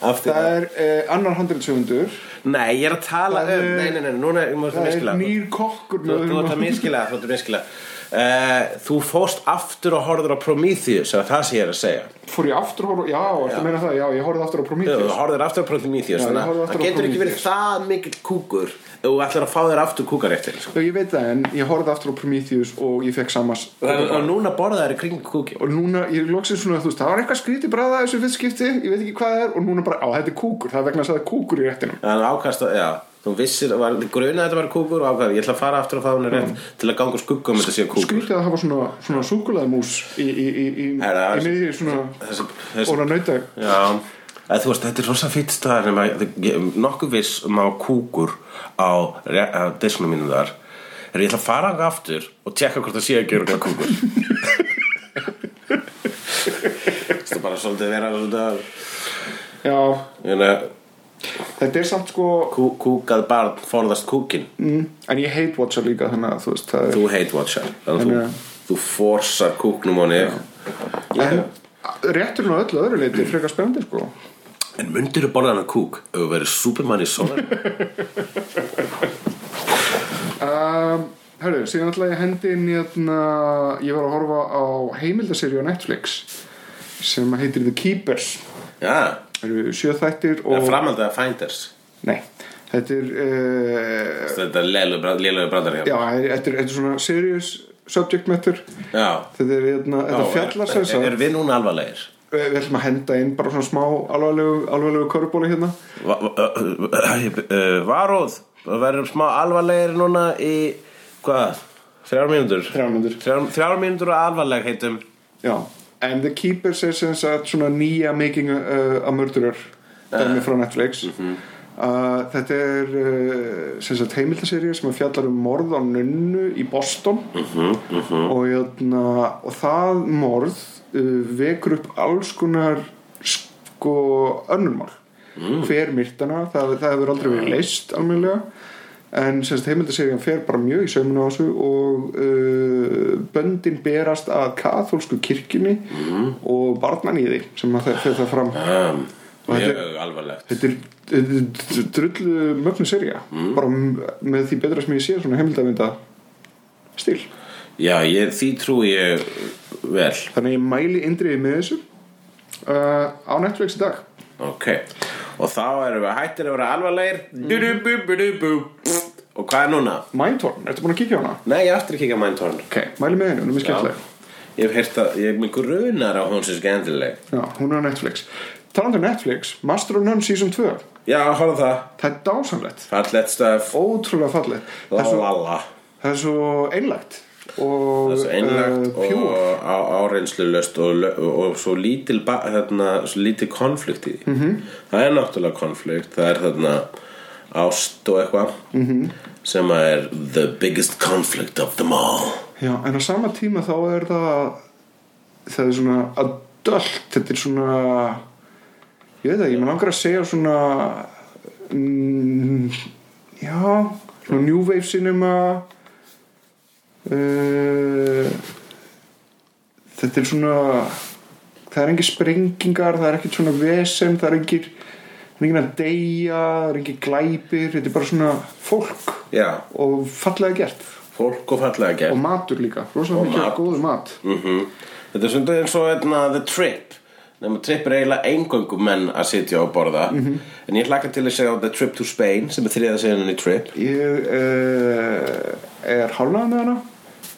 [SPEAKER 3] aftur
[SPEAKER 4] það er eh, annar handriðsöfundur
[SPEAKER 3] Nei, ég er að tala
[SPEAKER 4] Það
[SPEAKER 3] um
[SPEAKER 4] er-
[SPEAKER 3] Nei, nei, nei, núna er mjög
[SPEAKER 4] það er
[SPEAKER 3] miskila
[SPEAKER 4] nýr kokkur
[SPEAKER 3] Þú þú ert að miskila, þú ert að miskila uh, Þú fóst aftur og horfður á Prometheus eða það sem ég er að segja
[SPEAKER 4] fór ég aftur að horfa, já, ertu
[SPEAKER 3] Já.
[SPEAKER 4] að meina það, já, ég horfði aftur á
[SPEAKER 3] Já,
[SPEAKER 4] Prometheus
[SPEAKER 3] þú horfðir aftur á Prometheus
[SPEAKER 4] Já, ég
[SPEAKER 3] þannig að
[SPEAKER 4] horfði aftur
[SPEAKER 3] það
[SPEAKER 4] á
[SPEAKER 3] getur ekki verið
[SPEAKER 4] Prometheus.
[SPEAKER 3] það mikill kúkur ef þú ætlar að fá þér aftur kúkaréttir sko.
[SPEAKER 4] Já, ég veit það, en ég horfði aftur á Prometheus og ég fekk samans
[SPEAKER 3] og, og núna borða þær í kring kúki
[SPEAKER 4] og núna, ég loksins svona, þú veist, það var eitthvað skrítið bræða þessu fyrst skipti, ég veit ekki hvað það er og núna bara, á, þetta er kúkur, það er vegna þess að það er kúkur í réttinum
[SPEAKER 3] þannig ákast að, já, þú vissir var, grunaði að þetta var kúkur og ákvæði, ég ætla að fara aftur og fá hún rétt
[SPEAKER 4] Mm.
[SPEAKER 3] til að ganga úr skugga um þetta sé kúkur
[SPEAKER 4] skrítið að hafa svona, svona súkulaðmús í, í, í, í,
[SPEAKER 3] Er það-
[SPEAKER 4] í miðjum svona
[SPEAKER 3] þessi,
[SPEAKER 4] óra
[SPEAKER 3] þessi,
[SPEAKER 4] nauta
[SPEAKER 3] já, að, þú veist, þetta er rosa fýtt staðar nema ég- ég er nokkuð viss um að hafa kúkur á, ré- á disknum mínum þar er ég ætla að fara þangað aftur og tjekka hvort það sé að gera kúkur Þetta er bara svolítið vera svolítið
[SPEAKER 4] já,
[SPEAKER 3] Þannig
[SPEAKER 4] þetta er samt sko
[SPEAKER 3] kú, kúkað barn forðast kúkin
[SPEAKER 4] mm, en ég hate watcha líka þannig að þú veist það er
[SPEAKER 3] Þú hate watchar Þannig
[SPEAKER 4] Þannig
[SPEAKER 3] að
[SPEAKER 4] að-
[SPEAKER 3] þú, þú forsar kúknum á nef
[SPEAKER 4] en rétturinn á öllu öðru leiti er frekar spennandi sko
[SPEAKER 3] En myndirðu borða hana kúk ef þú verður Superman í sonar
[SPEAKER 4] um, herru, síðan ætla ég að hendi inn í þarna, ég var að horfa á heimildaseríu á Netflix sem heitir The Keepers
[SPEAKER 3] Já,
[SPEAKER 4] Það eru sjö þættir
[SPEAKER 3] það
[SPEAKER 4] og
[SPEAKER 3] er framaldið að Finders
[SPEAKER 4] Nei, þetta er uh,
[SPEAKER 3] Þetta er lélega brandar hjá
[SPEAKER 4] Já, þetta er, þetta er svona serious subject matter
[SPEAKER 3] Já
[SPEAKER 4] Þetta er, hérna,
[SPEAKER 3] Já,
[SPEAKER 4] þetta fjallar sem
[SPEAKER 3] er,
[SPEAKER 4] sagt
[SPEAKER 3] er við núna alvarlegir?
[SPEAKER 4] Við við ætlum að henda inn bara svona smá alvarlegu, alvarlegu körubóli hérna
[SPEAKER 3] Va- va- ö- ö- ö- Varóð við verðum smá alvarlegir núna í hvað? Þrjár mínútur?
[SPEAKER 4] Þrjár mínútur.
[SPEAKER 3] Þrjár, þrjár mínútur og alvarleg heitum
[SPEAKER 4] Já, en The Keepers er sem sagt svona nýja making uh, a murderer dæmi frá Netflix
[SPEAKER 3] Mhm.
[SPEAKER 4] uh, Þetta er uh, sem sagt heimildaserja sem að fjallar um morð á nunnu í Boston
[SPEAKER 3] Mhm.
[SPEAKER 4] Og, jötna, og það morð uh, vekur upp alls konar sko önnumál mm. Hver myrtana, það, það hefur aldrei verið leist almennilega En sem sagt heimildaserjan fer bara mjög í saumuna á þessu og uh, böndin berast að katholsku kirkjunni og barnaníði sem að það fer það fram
[SPEAKER 3] um,
[SPEAKER 4] Og þetta er-
[SPEAKER 3] Mjög alvarlegt
[SPEAKER 4] Þetta er, þetta er drullu mögnu serja bara m- með því betra sem ég sé svona heimildavinda stíl
[SPEAKER 3] Já, ég, því trúi ég vel
[SPEAKER 4] þannig að ég mæli indriði með þessu uh, á Netflix í dag
[SPEAKER 3] Ok og þá erum við hættir að vera alvarlegir
[SPEAKER 4] Mhm.
[SPEAKER 3] Du-du-bu-bu-du-bu. og hvað er núna?
[SPEAKER 4] Mindhorn, ertu búin að kíkja á hana?
[SPEAKER 3] Nei, ég er aftur að kíkja á Mindhorn
[SPEAKER 4] Ok, mæli með henni, hún er mjög skemmtileg
[SPEAKER 3] Ég hef heyrt að, ég er mjög grunar á hún sem skemmtileg
[SPEAKER 4] Já, hún er á Netflix Talandi um Netflix, Master of None Season 2
[SPEAKER 3] Já, horfðu það,
[SPEAKER 4] Það er dásamlegt
[SPEAKER 3] fallett stöf
[SPEAKER 4] Ótrúlega fallið Það er svo,
[SPEAKER 3] Lala
[SPEAKER 4] það er svo einlægt Og
[SPEAKER 3] Það er svo einlagt
[SPEAKER 4] eh, pure.
[SPEAKER 3] og á, áreynslulöst og, lö- og, og svo lítil ba- þarna, svo lítil konflikt í því
[SPEAKER 4] Mhm.
[SPEAKER 3] -hmm. það er náttúrulega konflikt það er þarna ást og eitthvað
[SPEAKER 4] Mhm.
[SPEAKER 3] -hmm. sem að er the biggest conflict of them all
[SPEAKER 4] Já, en á sama tíma þá er það það er svona adult, þetta er svona ég veit það ekki, maður langar að segja svona mm, já svona New Wave cinema uh, þetta er svona það er engin sprengingar það er ekkert svona vesen, það er engin það er engin að deyja, það er engin glæpir þetta er bara svona fólk
[SPEAKER 3] já,
[SPEAKER 4] og fallega gert
[SPEAKER 3] fólk og fallega
[SPEAKER 4] og
[SPEAKER 3] gert
[SPEAKER 4] matur líka, rosalega
[SPEAKER 3] Og
[SPEAKER 4] mikið
[SPEAKER 3] mat.
[SPEAKER 4] mat. góður mat
[SPEAKER 3] mm þetta er svona eins og þarna, the trip Nefnum trip er eiginlega eingöngu menn að sitja og borða
[SPEAKER 4] Mhm.
[SPEAKER 3] -hmm. En ég hlakka til að segja The Trip to Spain sem er þriða segjunni Trip
[SPEAKER 4] ég uh, er hálnaði með hana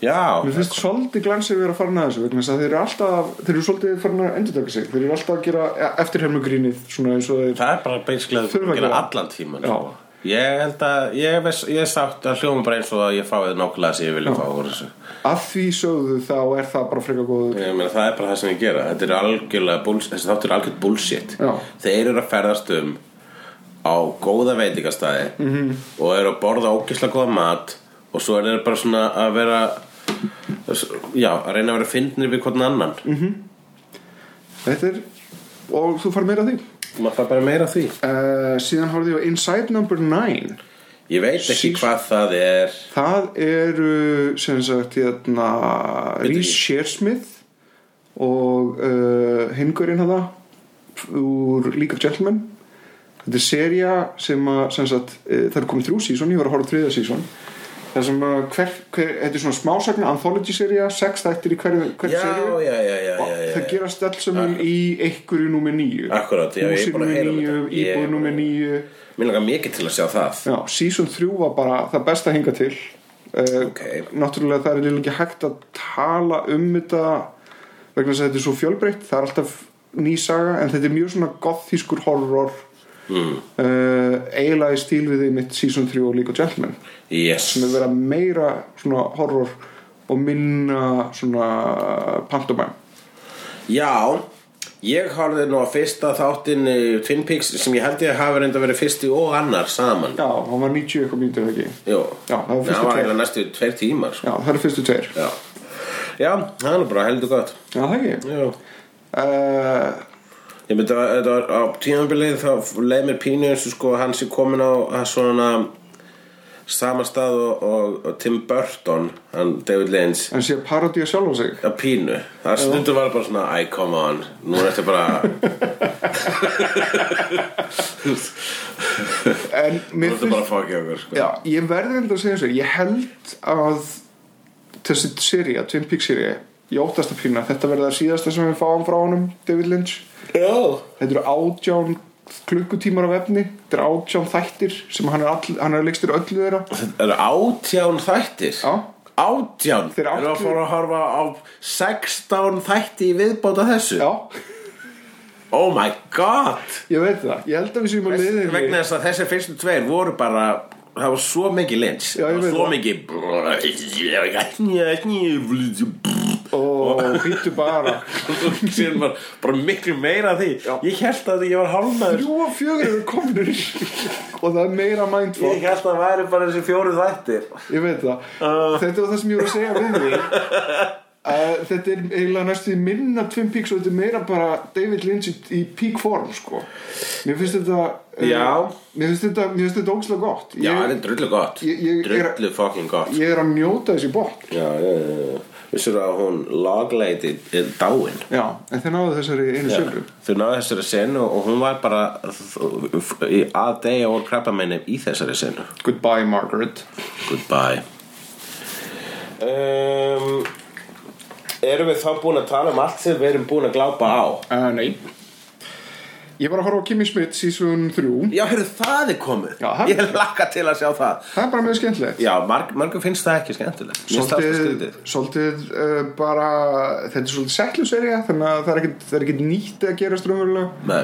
[SPEAKER 3] Já,
[SPEAKER 4] mér finnst svolítið glansið við erum að fara með þessu vegna þess að þeir eru alltaf, þeir eru svolítið farin að endurtaka sig, þeir eru alltaf að gera eftirhermugrínið svona eins og þeir
[SPEAKER 3] Það er bara basically að
[SPEAKER 4] Þurfa
[SPEAKER 3] gera,
[SPEAKER 4] að
[SPEAKER 3] gera
[SPEAKER 4] gera.
[SPEAKER 3] allan tíman
[SPEAKER 4] Já.
[SPEAKER 3] sko. Ég held að Ég er, ég er sátt að hljóma bara eins og að ég fáið nákvæmlega sem ég vilja fá úr þessu
[SPEAKER 4] að því sögðu þá er það bara frekar góður
[SPEAKER 3] Ég meina það er bara það sem ég gera Þetta er algjörlega bullshit Þessi þáttur er algjörlega bullshit
[SPEAKER 4] Já.
[SPEAKER 3] Þeir eru að ferðast um á góða veitingastæði
[SPEAKER 4] Mhm.
[SPEAKER 3] -hmm. og eru að borða ógislega góða mat og svo eru þeir bara svona að vera já, að reyna að vera fyndnir við hvern annan
[SPEAKER 4] Mhm.
[SPEAKER 3] mm
[SPEAKER 4] þetta er, og þú far meira að því
[SPEAKER 3] -hmm. maður fær bara meira af því
[SPEAKER 4] uh, síðan horfði ég á Inside Number 9
[SPEAKER 3] ég veit ekki
[SPEAKER 4] Sí.
[SPEAKER 3] hvað það er
[SPEAKER 4] það eru sem sagt hérna
[SPEAKER 3] Bíddu,
[SPEAKER 4] Rhys Shearsmith og uh, hingurinn hafa úr League of Gentlemen þetta er seria sem að sem sagt, uh, það er komið þrjú sísón, ég var að horfa á þriða sísón það sem að hver, hver, þetta er svona smásagna anthology seria, sex þættir í hverju hver
[SPEAKER 3] já, já,
[SPEAKER 4] seríu
[SPEAKER 3] já, já,
[SPEAKER 4] og
[SPEAKER 3] já, já,
[SPEAKER 4] það
[SPEAKER 3] já.
[SPEAKER 4] gerast alls saman í einhverju númer nýju
[SPEAKER 3] Akkúrat, já, ég er
[SPEAKER 4] húsi
[SPEAKER 3] búin að heyra
[SPEAKER 4] númer
[SPEAKER 3] um þetta.
[SPEAKER 4] nýju,
[SPEAKER 3] Ég-
[SPEAKER 4] íbúð númer nýju
[SPEAKER 3] Mér langar mikið til að sjá það
[SPEAKER 4] Já, season 3 var bara það besta hinga til uh,
[SPEAKER 3] Ok.
[SPEAKER 4] Náttúrulega það er eiginlega ekki hægt að tala um þetta vegna þess að þetta er svo fjölbreytt það er alltaf ný saga en þetta er mjög svona gothískur horror mm. eiginlega í stíl við því mitt season 3 og líka gentleman
[SPEAKER 3] Yes
[SPEAKER 4] sem er verið að meira svona horror og minna svona pantomæm
[SPEAKER 3] Já, ég horfði nú að fyrsta þáttinn eh, Twin Peaks sem ég held ég hafi reynda verið fyrsti og annar saman
[SPEAKER 4] Já, hann var 90 eitthvað mínútur eða ekki
[SPEAKER 3] Jú,
[SPEAKER 4] Já, það var fyrstu
[SPEAKER 3] það var
[SPEAKER 4] tveir.
[SPEAKER 3] eiginlega næstu tveir tímar sko.
[SPEAKER 4] Já, það eru fyrstu tveir
[SPEAKER 3] Já, Já það er nú bara heldur gott
[SPEAKER 4] Já, það ekki
[SPEAKER 3] Já
[SPEAKER 4] uh,
[SPEAKER 3] Ég myndi að þetta var á tímanbilið þá leið mér pínu eins og sko hann sem komin á að svona sama stað og, og, og Tim Burton, hann David Lynch
[SPEAKER 4] En sé parodía sjálf á sig
[SPEAKER 3] Já, pínu. Það stundum var bara svona, æ, come on, nú er þetta bara,
[SPEAKER 4] En
[SPEAKER 3] nú
[SPEAKER 4] mér
[SPEAKER 3] er þetta bara að fokja okkur, sko.
[SPEAKER 4] Já, ég verði enda að segja þessu Ég held að þessi seria, Twin Peaks seria ég óttast að pína, þetta verði það síðasta sem við fáum frá honum, David Lynch
[SPEAKER 3] Já.
[SPEAKER 4] Þetta eru átján klukkutímar af efni þetta eru átján þættir sem hann er, all, hann er leikstur öllu þeirra
[SPEAKER 3] Það eru átján þættir.
[SPEAKER 4] Já.
[SPEAKER 3] Átján?
[SPEAKER 4] Þeir eru
[SPEAKER 3] Erum við að
[SPEAKER 4] átján-
[SPEAKER 3] fara að horfa á 16 þætti í viðbóta þessu?
[SPEAKER 4] Já,
[SPEAKER 3] Oh my god!
[SPEAKER 4] ég veit það, ég held að við séum að liðið
[SPEAKER 3] Vegna þess að þessi fyrstu tveir voru bara, það var svo mikið lins.
[SPEAKER 4] Já,
[SPEAKER 3] það
[SPEAKER 4] ég
[SPEAKER 3] var
[SPEAKER 4] veit
[SPEAKER 3] svo
[SPEAKER 4] það.
[SPEAKER 3] mikið...
[SPEAKER 4] og hýttu bara
[SPEAKER 3] Og síðan var bara miklu meira af því. Ég held að ég var hálfnaður.
[SPEAKER 4] Þrjú og fjögur eru komnir og það er meira mindfuck
[SPEAKER 3] Ég held að það væri bara þessi fjóru þættir
[SPEAKER 4] Ég veit það
[SPEAKER 3] Ah.
[SPEAKER 4] Þetta var það sem ég voru að segja við því að þetta er eiginlega næstu því minna Twin Peaks og þetta er meira bara David Lynch í, í peak form sko. Mér finnst þetta eh,
[SPEAKER 3] Já.
[SPEAKER 4] Mér finnst þetta, mér finnst þetta ógslag gott
[SPEAKER 3] Já,
[SPEAKER 4] ég,
[SPEAKER 3] þetta er drullu gott
[SPEAKER 4] Ég- ég- ég-
[SPEAKER 3] Drullu fucking gott
[SPEAKER 4] ég er að njóta þessi bótt
[SPEAKER 3] Já, já, já, já Vissur að hún lagleiti er dáin
[SPEAKER 4] Já, en þeir náðu þessari einu sjöfru
[SPEAKER 3] Þau náðu þessari senu og hún var bara í að degja úr krabbameinum í þessari senu
[SPEAKER 4] Goodbye Margaret
[SPEAKER 3] Goodbye um, Erum við þá búin að tala um allt sem við erum búin að glápa á?
[SPEAKER 4] uh, Nei, Ég var að horfa á Kimmy Schmidt season 3
[SPEAKER 3] Já, heyrðu, það er komið
[SPEAKER 4] Já, það er
[SPEAKER 3] Ég
[SPEAKER 4] komið.
[SPEAKER 3] lakka til að sjá það
[SPEAKER 4] Það er bara mjög skemmtilegt
[SPEAKER 3] Já, marg, margum finnst það ekki skemmtilegt Mér finnst það alltaf
[SPEAKER 4] Svolítið,
[SPEAKER 3] skrítið.
[SPEAKER 4] svolítið uh, bara þetta er svolítið settluserja þannig að það er ekkit, það er ekkit nýtt að gera strömmurlega
[SPEAKER 3] Nei,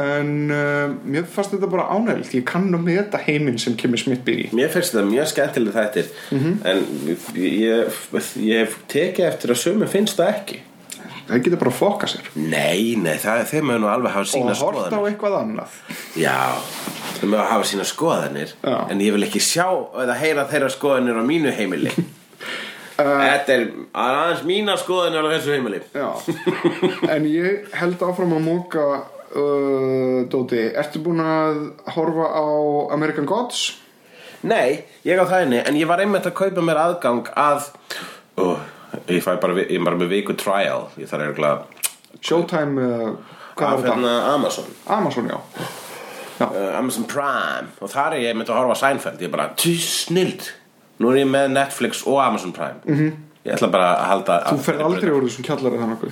[SPEAKER 4] en uh, mér fannst þetta bara ánægilegt ég kann að meta heiminn sem Kimmy Schmidt býr í
[SPEAKER 3] Mér finnst það mjög skemmtileg þættir
[SPEAKER 4] Mhm.
[SPEAKER 3] En ég, ég hef tekið eftir að sömu finnst það ekki
[SPEAKER 4] það getur bara að fokka sér
[SPEAKER 3] Nei, nei, það, þeir mögum nú alveg hafa sína
[SPEAKER 4] og horta á
[SPEAKER 3] skoðanir
[SPEAKER 4] eitthvað annað
[SPEAKER 3] Já, þeir mögum hafa sína skoðanir
[SPEAKER 4] Já.
[SPEAKER 3] En ég vil ekki sjá eða heyra þeirra skoðanir á mínu heimili
[SPEAKER 4] Uh,
[SPEAKER 3] Þetta er aðeins mína skoðanir á þessu heimili
[SPEAKER 4] Já, en ég held áfram að móka uh, Dóti, ertu búin að horfa á American Gods?
[SPEAKER 3] Nei, ég á það henni En ég var einmitt að kaupa mér aðgang að Ó, Ég fæ bara, vi- ég er bara með viku trial Ég þarf eiginlega
[SPEAKER 4] Showtime, uh, hvað
[SPEAKER 3] Af
[SPEAKER 4] er þetta?
[SPEAKER 3] hérna Amazon
[SPEAKER 4] Amazon, já
[SPEAKER 3] uh, Amazon Prime Og þar er ég einmitt að horfa á Seinfeld Ég er bara, tjú, snild Nú er ég með Netflix og Amazon Prime -hmm. Ég ætla bara að halda
[SPEAKER 4] Mhm. Þú ferð aldrei úr þessum kjallari þannig okkur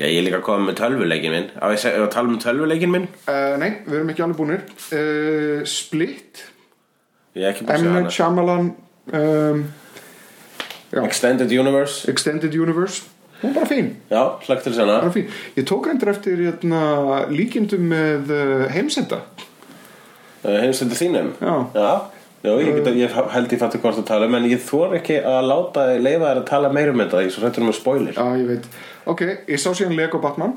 [SPEAKER 3] Já, ég er líka að koma með tölvuleikin minn Á ég seg- á að tala um tölvuleikin minn
[SPEAKER 4] Uh, nei, við erum ekki alveg búinir uh, Split,
[SPEAKER 3] Ég er ekki
[SPEAKER 4] M.
[SPEAKER 3] búin
[SPEAKER 4] Night
[SPEAKER 3] að sjá
[SPEAKER 4] Shyamalan um,
[SPEAKER 3] hana Extended Universe
[SPEAKER 4] Extended Universe Hún er bara fín,
[SPEAKER 3] Já, hlökk til sérna
[SPEAKER 4] bara fín Ég tók reyndir eftir hérna, líkindum með uh, heimsenda
[SPEAKER 3] heimsendu þínum
[SPEAKER 4] Já.
[SPEAKER 3] Jó, ég, get, ég held ég fætti hvort að tala um en ég þor ekki að láta leifa þér að tala meira um þetta ég er svo hrættur um að spoiler
[SPEAKER 4] Já, ég veit Ok, ég sá síðan Lego Batman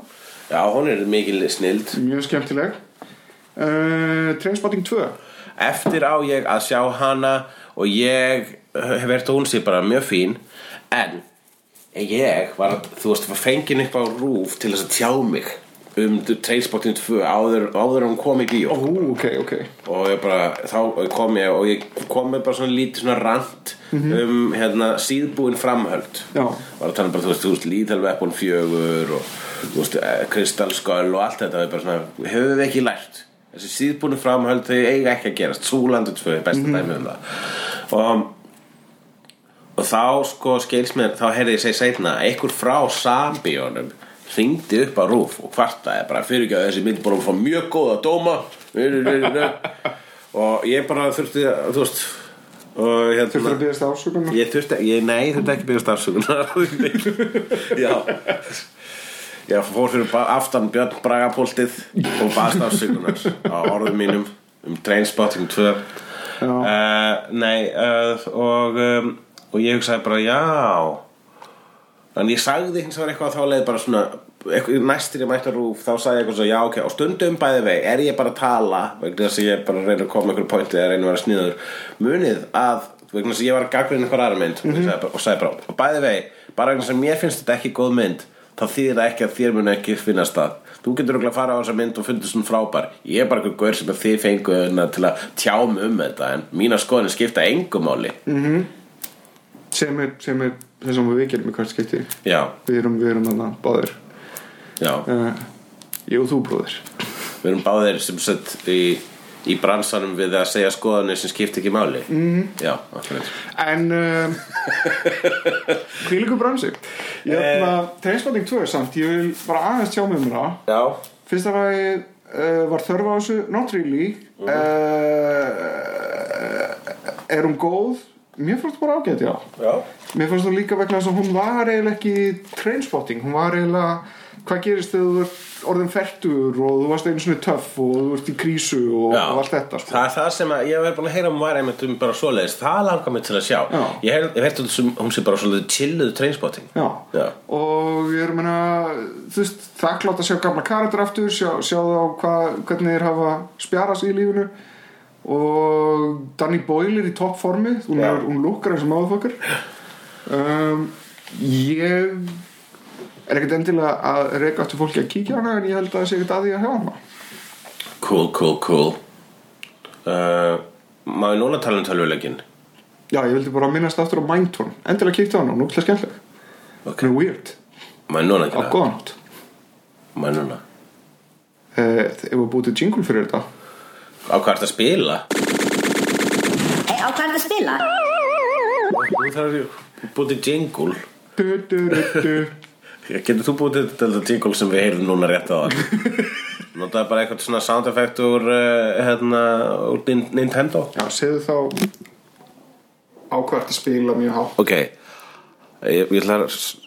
[SPEAKER 3] Já, hún er mikil snild
[SPEAKER 4] Mjög skemmtileg uh, Trainspotting 2
[SPEAKER 3] Eftir á ég að sjá hana og ég hef verið hún sér bara mjög fín en ég var, þú veist, var fengin upp á rúf til þess að tjá mig um Trainspotting 2 áður, áður en hún kom í bíó
[SPEAKER 4] Ó, ok, ok
[SPEAKER 3] og ég bara, þá kom ég og ég kom með bara svona lítið svona rant um hérna síðbúin framhöld
[SPEAKER 4] Já.
[SPEAKER 3] var að tala um bara, þú veist, þú veist líðhelveppun fjögur og þú veist, eh, kristalsköll og allt þetta, það er bara svona höfum við ekki lært, þessi síðbúin framhöld þau eiga ekki að gerast, súlandu tvö er besta dæmi um það og og þá sko skils mér, þá heyrði ég segi seinna einhver frá Sambíónum hringdi upp á rúf og kvartaði bara fyrir ekki að þessi mynd búin að fá mjög góða dóma og ég bara þurfti að, þú veist og hérna
[SPEAKER 4] Þurftur að byggast ásökunar
[SPEAKER 3] ég þurfti, ég, nei, ég þurfti ekki um byggja starfsökunar já já, fór fyrir ba- aftan Björn Bragapoltið og bara starfsökunar á orðum mínum um Trainspotting 2 uh, nei uh, og, um, og ég hugsaði bara já en ég sagði hins vegar eitthvað þá leið bara svona eitthvað- næstir ég mætti á rúf þá sagði ég eitthvað svo já ok og stundum bæði vei er ég bara að tala vegna þess að ég er bara að reyna að koma einhverju pointi eða reyna að vera sniður munið að vegna þess að ég var að gagna einhver aðra mynd mm -hmm. og sagði bara og bæði vei bara vegna þess að mér finnst þetta ekki góð mynd þá þýðir það ekki að þér mun ekki finnast það þú getur okkur að fara á þessa mynd og fundið svona frábær ég er bara einhver gaur sem að þið fengu hérna til að tjáum um þetta en mína skoðin skipta engumáli mm.
[SPEAKER 4] sem er, sem er þessum við gerum í hvert skipti
[SPEAKER 3] já,
[SPEAKER 4] Við erum, við erum þarna báðir
[SPEAKER 3] já
[SPEAKER 4] uh, Ég og þú bróðir
[SPEAKER 3] Við erum báðir sem sett í, í bransanum við að segja skoðanir sem skipta ekki máli
[SPEAKER 4] Mhm.
[SPEAKER 3] mm. Já, akkurat
[SPEAKER 4] En uh, Hvílíku bransi Jæna, uh, Trainspotting 2 samt Ég vil bara aðeins tjá með mér það
[SPEAKER 3] Já,
[SPEAKER 4] Fyrsta lagi uh, var þörf á þessu Not really uh, Er hún góð? Mér fannst bara ágætt, já
[SPEAKER 3] já
[SPEAKER 4] Mér fannst það líka vegna þess að hún var eiginlega ekki trainspotting, hún var eiginlega hvað gerist þegar þú ert orðin fertur og þú varst einu svona töff og þú ert í krísu og, og allt þetta sko.
[SPEAKER 3] Það er það sem að, ég hef búin að heyra um var einmitt um bara svoleiðis, það langar mig til að sjá
[SPEAKER 4] Já.
[SPEAKER 3] Ég hef, hef heyrt um þessum, hún sé bara svoleiðið chilluð trainspotting
[SPEAKER 4] Já.
[SPEAKER 3] Já.
[SPEAKER 4] og ég er að meina þú veist, þakklátt að sjá gamla karakter aftur sjá, sjá þá hvað, hvernig þeir hafa spjarast í lífinu og Danny Boyle er í toppformi hún,
[SPEAKER 3] Já.
[SPEAKER 4] er- hún lukkar eins og máðfokkar um, ég er ekkert endilega að reyka aftur fólki að kíkja á hana en ég held að það sé ekkert að því að hjá hana
[SPEAKER 3] Cool, cool, cool uh, Má ég núna tala um tölvuleikin?
[SPEAKER 4] já, ég vildi bara minnast aftur á Mindtone endilega kíkja á hana, hún er útla skemmtileg
[SPEAKER 3] Ok.
[SPEAKER 4] hún er weird,
[SPEAKER 3] Má ég núna
[SPEAKER 4] á
[SPEAKER 3] ekki
[SPEAKER 4] góðan hátt
[SPEAKER 3] Má ég núna
[SPEAKER 4] uh, ef við bútið jingle fyrir þetta
[SPEAKER 3] Á hvað ertu að spila?
[SPEAKER 8] Á hvað er það að spila?
[SPEAKER 3] Þú þarf bútið jingle
[SPEAKER 4] du, du, du, du.
[SPEAKER 3] Getur þú búið til þetta jingle sem við heyrðum núna rétt á það? Notaði bara eitthvað svona sound effect úr, uh, hérna, úr Nin- Nintendo
[SPEAKER 4] Já, segðu þá ákvært að spila mjög hátt
[SPEAKER 3] Ok, ég, ég ætla að, s-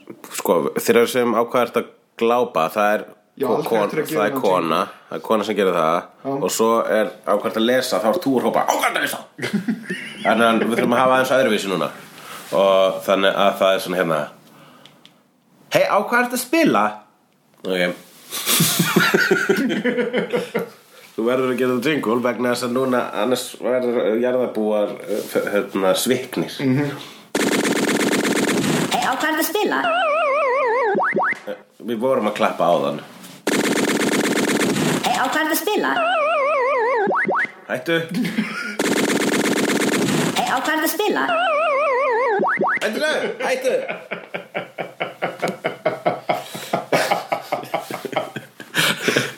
[SPEAKER 3] sko, þeirra sem ákvæðast að glápa, það er,
[SPEAKER 4] Já,
[SPEAKER 3] ko-
[SPEAKER 4] aldrei
[SPEAKER 3] kon,
[SPEAKER 4] eftir að gera
[SPEAKER 3] það er
[SPEAKER 4] hann
[SPEAKER 3] kona, það er kona sem gerir það og svo er ákvæðast að lesa, þá er þú að hrópa, ákvæðast að lesa! Þannig að við þurfum að hafa aðeins öðruvísi núna og þannig að það er svona hérna, hei, ákvæðast að spila? Ok, Þú verður að gera það jingle vegna þess að núna annars verður jarðabúar eh, f- hérna, sviknir
[SPEAKER 8] Hei, á hvað ertu að spila?
[SPEAKER 3] Við vorum að klappa á þann
[SPEAKER 8] Hei, á hvað ertu að spila?
[SPEAKER 3] Hættu,
[SPEAKER 8] Hei, á hvað ertu að spila?
[SPEAKER 3] hættu nú, hættu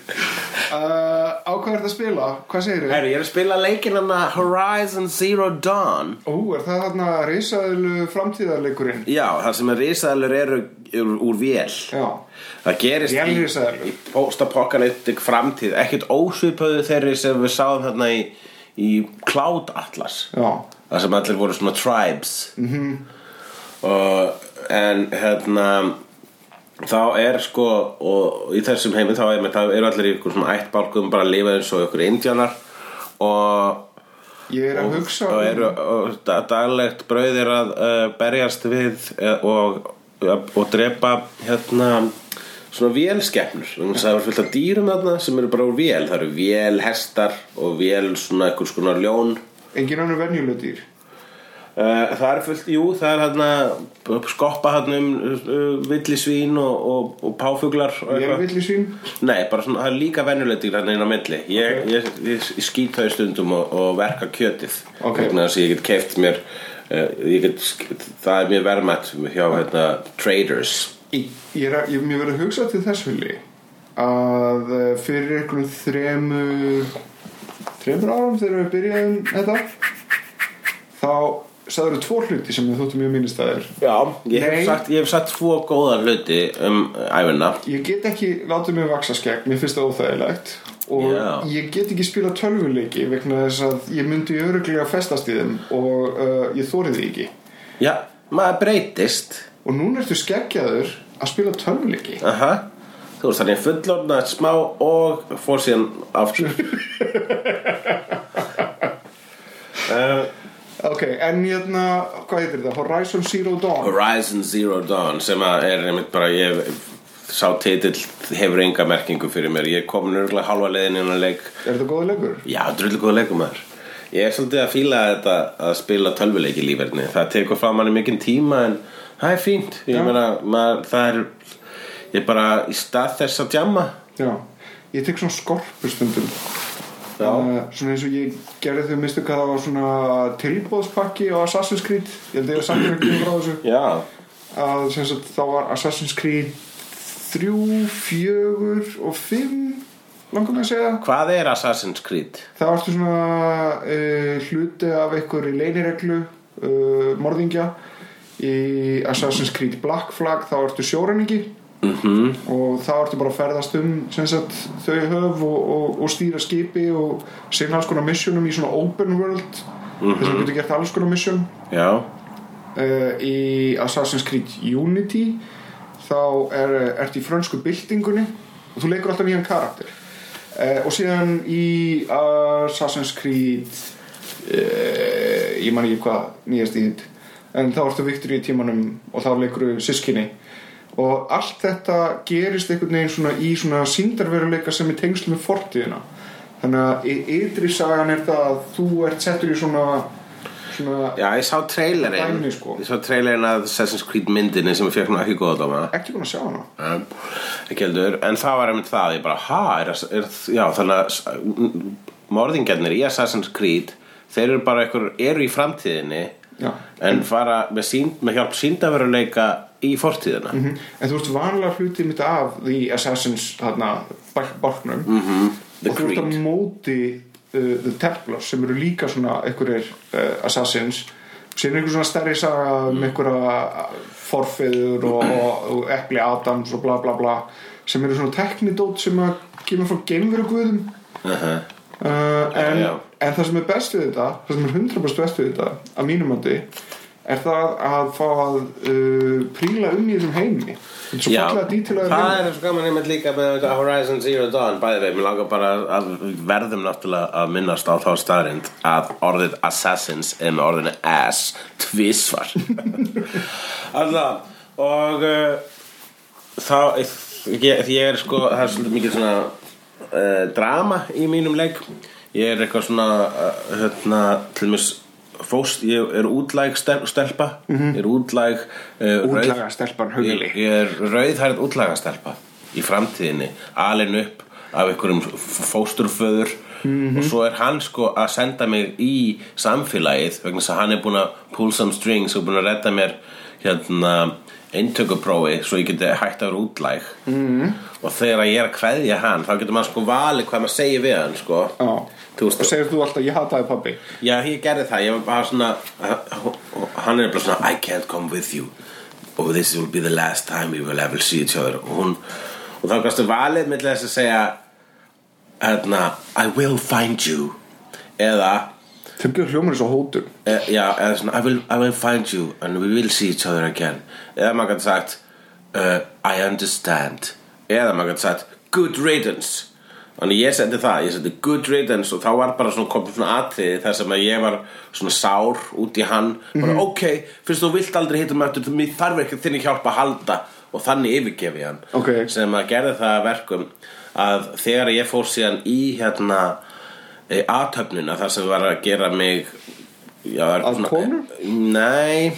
[SPEAKER 4] uh, Ákvært að spila, hvað segir þið?
[SPEAKER 3] Herru, ég er að spila leikinn hann að Horizon Zero Dawn
[SPEAKER 4] Ó, er það þarna risaðilu framtíðarleikurinn?
[SPEAKER 3] Já, það sem er risaðalur eru úr, úr vél
[SPEAKER 4] Já,
[SPEAKER 3] Það gerist
[SPEAKER 4] Vélrisaðalur.
[SPEAKER 3] í, í post-apokalyptik framtíð ekkert ósvipöðu þeirri sem við sáum þarna í, í Cloud Atlas
[SPEAKER 4] já,
[SPEAKER 3] Það sem allir voru svona tribes og, En hérna Þá er sko Og í þessum heimi þá er Það eru allir í ykkur svona ættbálkum Bara að lifa eins og ykkur indjánar Og
[SPEAKER 4] ég er að hugsa
[SPEAKER 3] og
[SPEAKER 4] um-
[SPEAKER 3] eru og da- daglegt brauðir að uh, berjast við uh, og, og drepa hérna svona vélskeppnur þannig að það er fullt af dýrum þarna sem eru bara úr vél það eru vélhestar og vél svona einhvers konar ljón
[SPEAKER 4] Engin annar venjuleg dýr
[SPEAKER 3] Uh, það er fullt, jú, það er hérna skoppa hérna um uh, villisvín og, og, og páfuglar og
[SPEAKER 4] Ég er
[SPEAKER 3] eitthvað.
[SPEAKER 4] villi sín
[SPEAKER 3] Nei, bara svona, það er líka venjulegt dýr hérna inn á milli Ég, ég, ég, ég skýt þau stundum og, og verka kjötið
[SPEAKER 4] Ok.
[SPEAKER 3] vegna þess að ég get keift mér uh, ég get, sk- það er mjög verðmætt hjá hérna, traders
[SPEAKER 4] Ég, er að, ég, mér verið að hugsa til þess vilji að eh, fyrir einhvern þremur þremur árum þegar við byrjaðum þetta þá sagður tvo hluti sem við þóttum mjög minnistæðir
[SPEAKER 3] Já, ég hef,
[SPEAKER 4] Nei.
[SPEAKER 3] sagt, ég hef sagt tvo góða hluti um uh, æfina
[SPEAKER 4] ég get ekki látið mig vaksa skegg mér finnst það óþægilegt og
[SPEAKER 3] Já.
[SPEAKER 4] ég get ekki spila tölvuleiki vegna þess að ég myndi öruglega festast í þeim og uh, ég þórið því ekki
[SPEAKER 3] Já, maður breytist
[SPEAKER 4] og núna ertu skeggjaður að spila tölvuleiki
[SPEAKER 3] Aha. Þú veist þannig fullorna smá og fór síðan aftur uh,
[SPEAKER 4] ok, en hérna, hvað heitir þetta? Horizon Zero Dawn
[SPEAKER 3] Horizon Zero Dawn sem að er einmitt bara ég, sá titill hefur enga merkingu fyrir mér ég kom nörgulega halva leiðin innan leik
[SPEAKER 4] er þetta góða leikur?
[SPEAKER 3] já, drullu góða leikumæður ég er svolítið að fíla þetta að spila tölvuleik í líferni það tekur frá manni mikinn tíma en það er fínt ég meina, maður, það er ég bara í stað þess að djamma
[SPEAKER 4] já, ég tek svona skorpu stundum
[SPEAKER 3] Já.
[SPEAKER 4] Uh, svona eins og ég gerði þau mistu hvað það var svona tilbóðspakki á Assassin's Creed ég held að ég samt er ekki frá þessu
[SPEAKER 3] já,
[SPEAKER 4] að sem sagt, þá var Assassin's Creed 3, 4 og 5 langar mig að segja
[SPEAKER 3] hvað er Assassin's Creed?
[SPEAKER 4] það varstu svona uh, hluti af einhverju leinireglu uh, morðingja í Assassin's Creed Black Flag þá ertu sjóræningi -hmm. og þá ertu bara að ferðast um sem sagt, þau höf og, og, og stýra skipi og sinna alls konar missionum í svona open world þess að þú getur gert alls konar mission
[SPEAKER 3] já,
[SPEAKER 4] uh, í Assassin's Creed Unity þá er, eh, ertu í frönsku byltingunni og þú leikur alltaf nýjan karakter uh, og síðan í Assassin's Creed uh, ég man ekki hvað nýjast í þitt en þá ertu viktur í tímanum og þá leikur sískinni og allt þetta gerist einhvern veginn svona í svona síndarveruleika sem er tengslu með fortíðina þannig að í ytri sagan er það að þú ert settur í svona svona
[SPEAKER 3] Já, ég sá trailerinn
[SPEAKER 4] Dæmi, sko.
[SPEAKER 3] Ég sá trailerinn að Assassin's Creed myndinni sem ég fekk nú ekki góða dóma
[SPEAKER 4] ekki búin að sjá hana
[SPEAKER 3] En- ekki heldur, Um, en það var einmitt það ég bara, ha, er, er, já, þannig að morðingjarnir í Assassin's Creed þeir eru bara einhver, eru í framtíðinni
[SPEAKER 4] Já.
[SPEAKER 3] en fara með, sín, með hjálp síndaveruleika í fortíðina mm
[SPEAKER 4] Mhm. en þú veist vanlega hlutið mitt af The Assassins þarna barknum -hmm.
[SPEAKER 3] The
[SPEAKER 4] og þú ert
[SPEAKER 3] Creed.
[SPEAKER 4] að móti uh, The Templars sem eru líka svona einhverjir uh, Assassins sem er einhver svona stærri saga
[SPEAKER 3] Mm.
[SPEAKER 4] um einhverja forfeður og, og, og epli Adams og bla bla bla sem eru svona teknidót sem að kemur frá geimveru guðum Uh, en,
[SPEAKER 3] Já, já.
[SPEAKER 4] en það sem er best við þetta það sem er 100% best við þetta að mínum andi er það að fá að uh, príla um í þessum heimi þetta er svo fallega dítilaður
[SPEAKER 3] það
[SPEAKER 4] heimi
[SPEAKER 3] er svo gaman einmitt líka með þetta Horizon Zero Dawn bæði veginn, mér langar bara að- að við verðum náttúrulega að minnast á þá staðrind að orðið assassins er með orðinu ass tvísvar alltaf og uh, þá ég, því ég er sko, það er svolítið mikið svona uh, drama í mínum leik ég er eitthvað svona uh, hérna, til mér fóst, ég er útlæg stel, stelpa ég er útlæg uh,
[SPEAKER 4] Útlaga
[SPEAKER 3] rauð-
[SPEAKER 4] Mhm. stelpan Hugli.
[SPEAKER 3] ég, ég er rauðhærið útlagastelpa í framtíðinni, alin upp af einhverjum f- fósturföður og svo er hann sko að senda mig í samfélagið vegna þess að hann er búin að pull some strings og búin að redda mér hérna eintökuprófi svo ég geti hægt að vera útlæg -hmm. og þegar ég er að kveðja hann þá getur maður sko valið hvað maður segir við hann sko
[SPEAKER 4] Já.
[SPEAKER 3] Þú veist,
[SPEAKER 4] og segir þú alltaf ég hataði pabbi
[SPEAKER 3] Já, ég gerði það, ég var bara svona hann er bara svona I can't come with you og this will be the last time we will ever see each other og hún, og þá kannstu valið millir þess að segja hérna, I will find you eða,
[SPEAKER 4] þau byrjuð hljómar eins og hótur
[SPEAKER 3] e, já, eða svona I will, I will find you and we will see each other again eða maður kannski sagt uh, I understand eða maður kannski sagt good riddance Þannig ég sendi það, ég sendi good riddance og þá var bara svona komið svona atriði þar sem að ég var svona sár út í hann bara ok, finnst þú vilt aldrei hittum eftir þú mér þarf ekki þinni hjálp að halda og þannig yfirgefi ég hann
[SPEAKER 4] Ok.
[SPEAKER 3] sem að gerði það að verkum að þegar ég fór síðan í hérna e, aðtöfnuna þar sem var að gera mig já, það er
[SPEAKER 4] Að
[SPEAKER 3] svona-
[SPEAKER 4] konu?
[SPEAKER 3] Nei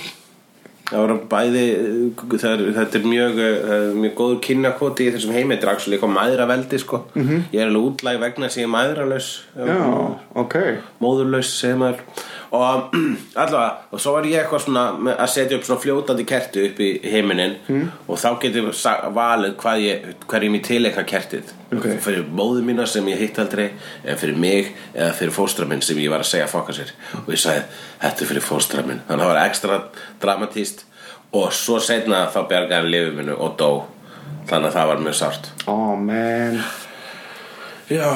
[SPEAKER 3] Það voru bæði, það er, þetta er mjög, það er mjög góður kynnakoti í þessum heimi, þetta er actually eitthvað mæðraveldi sko. -hmm. Ég er alveg útlæg vegna sem ég er mæðralaus,
[SPEAKER 4] já, ok
[SPEAKER 3] móðurlaus segir maður. Og allavega, og svo var ég eitthvað svona með að setja upp svona fljótandi kerti upp í heiminin og þá getur ég sa- valið hvað ég, hver ég mér tilekka kertið.
[SPEAKER 4] Ok.
[SPEAKER 3] Fyrir móður mína sem ég hitt aldrei, eða fyrir mig, eða fyrir fóstra minn sem ég var að segja að fokka sér. Og ég sagði, þetta er fyrir fóstra minn. Þannig að það var ekstra dramatíst og svo setna þá bjargaði hann lifið minu og dó. Þannig að það var mjög sárt.
[SPEAKER 4] oh man
[SPEAKER 3] Já,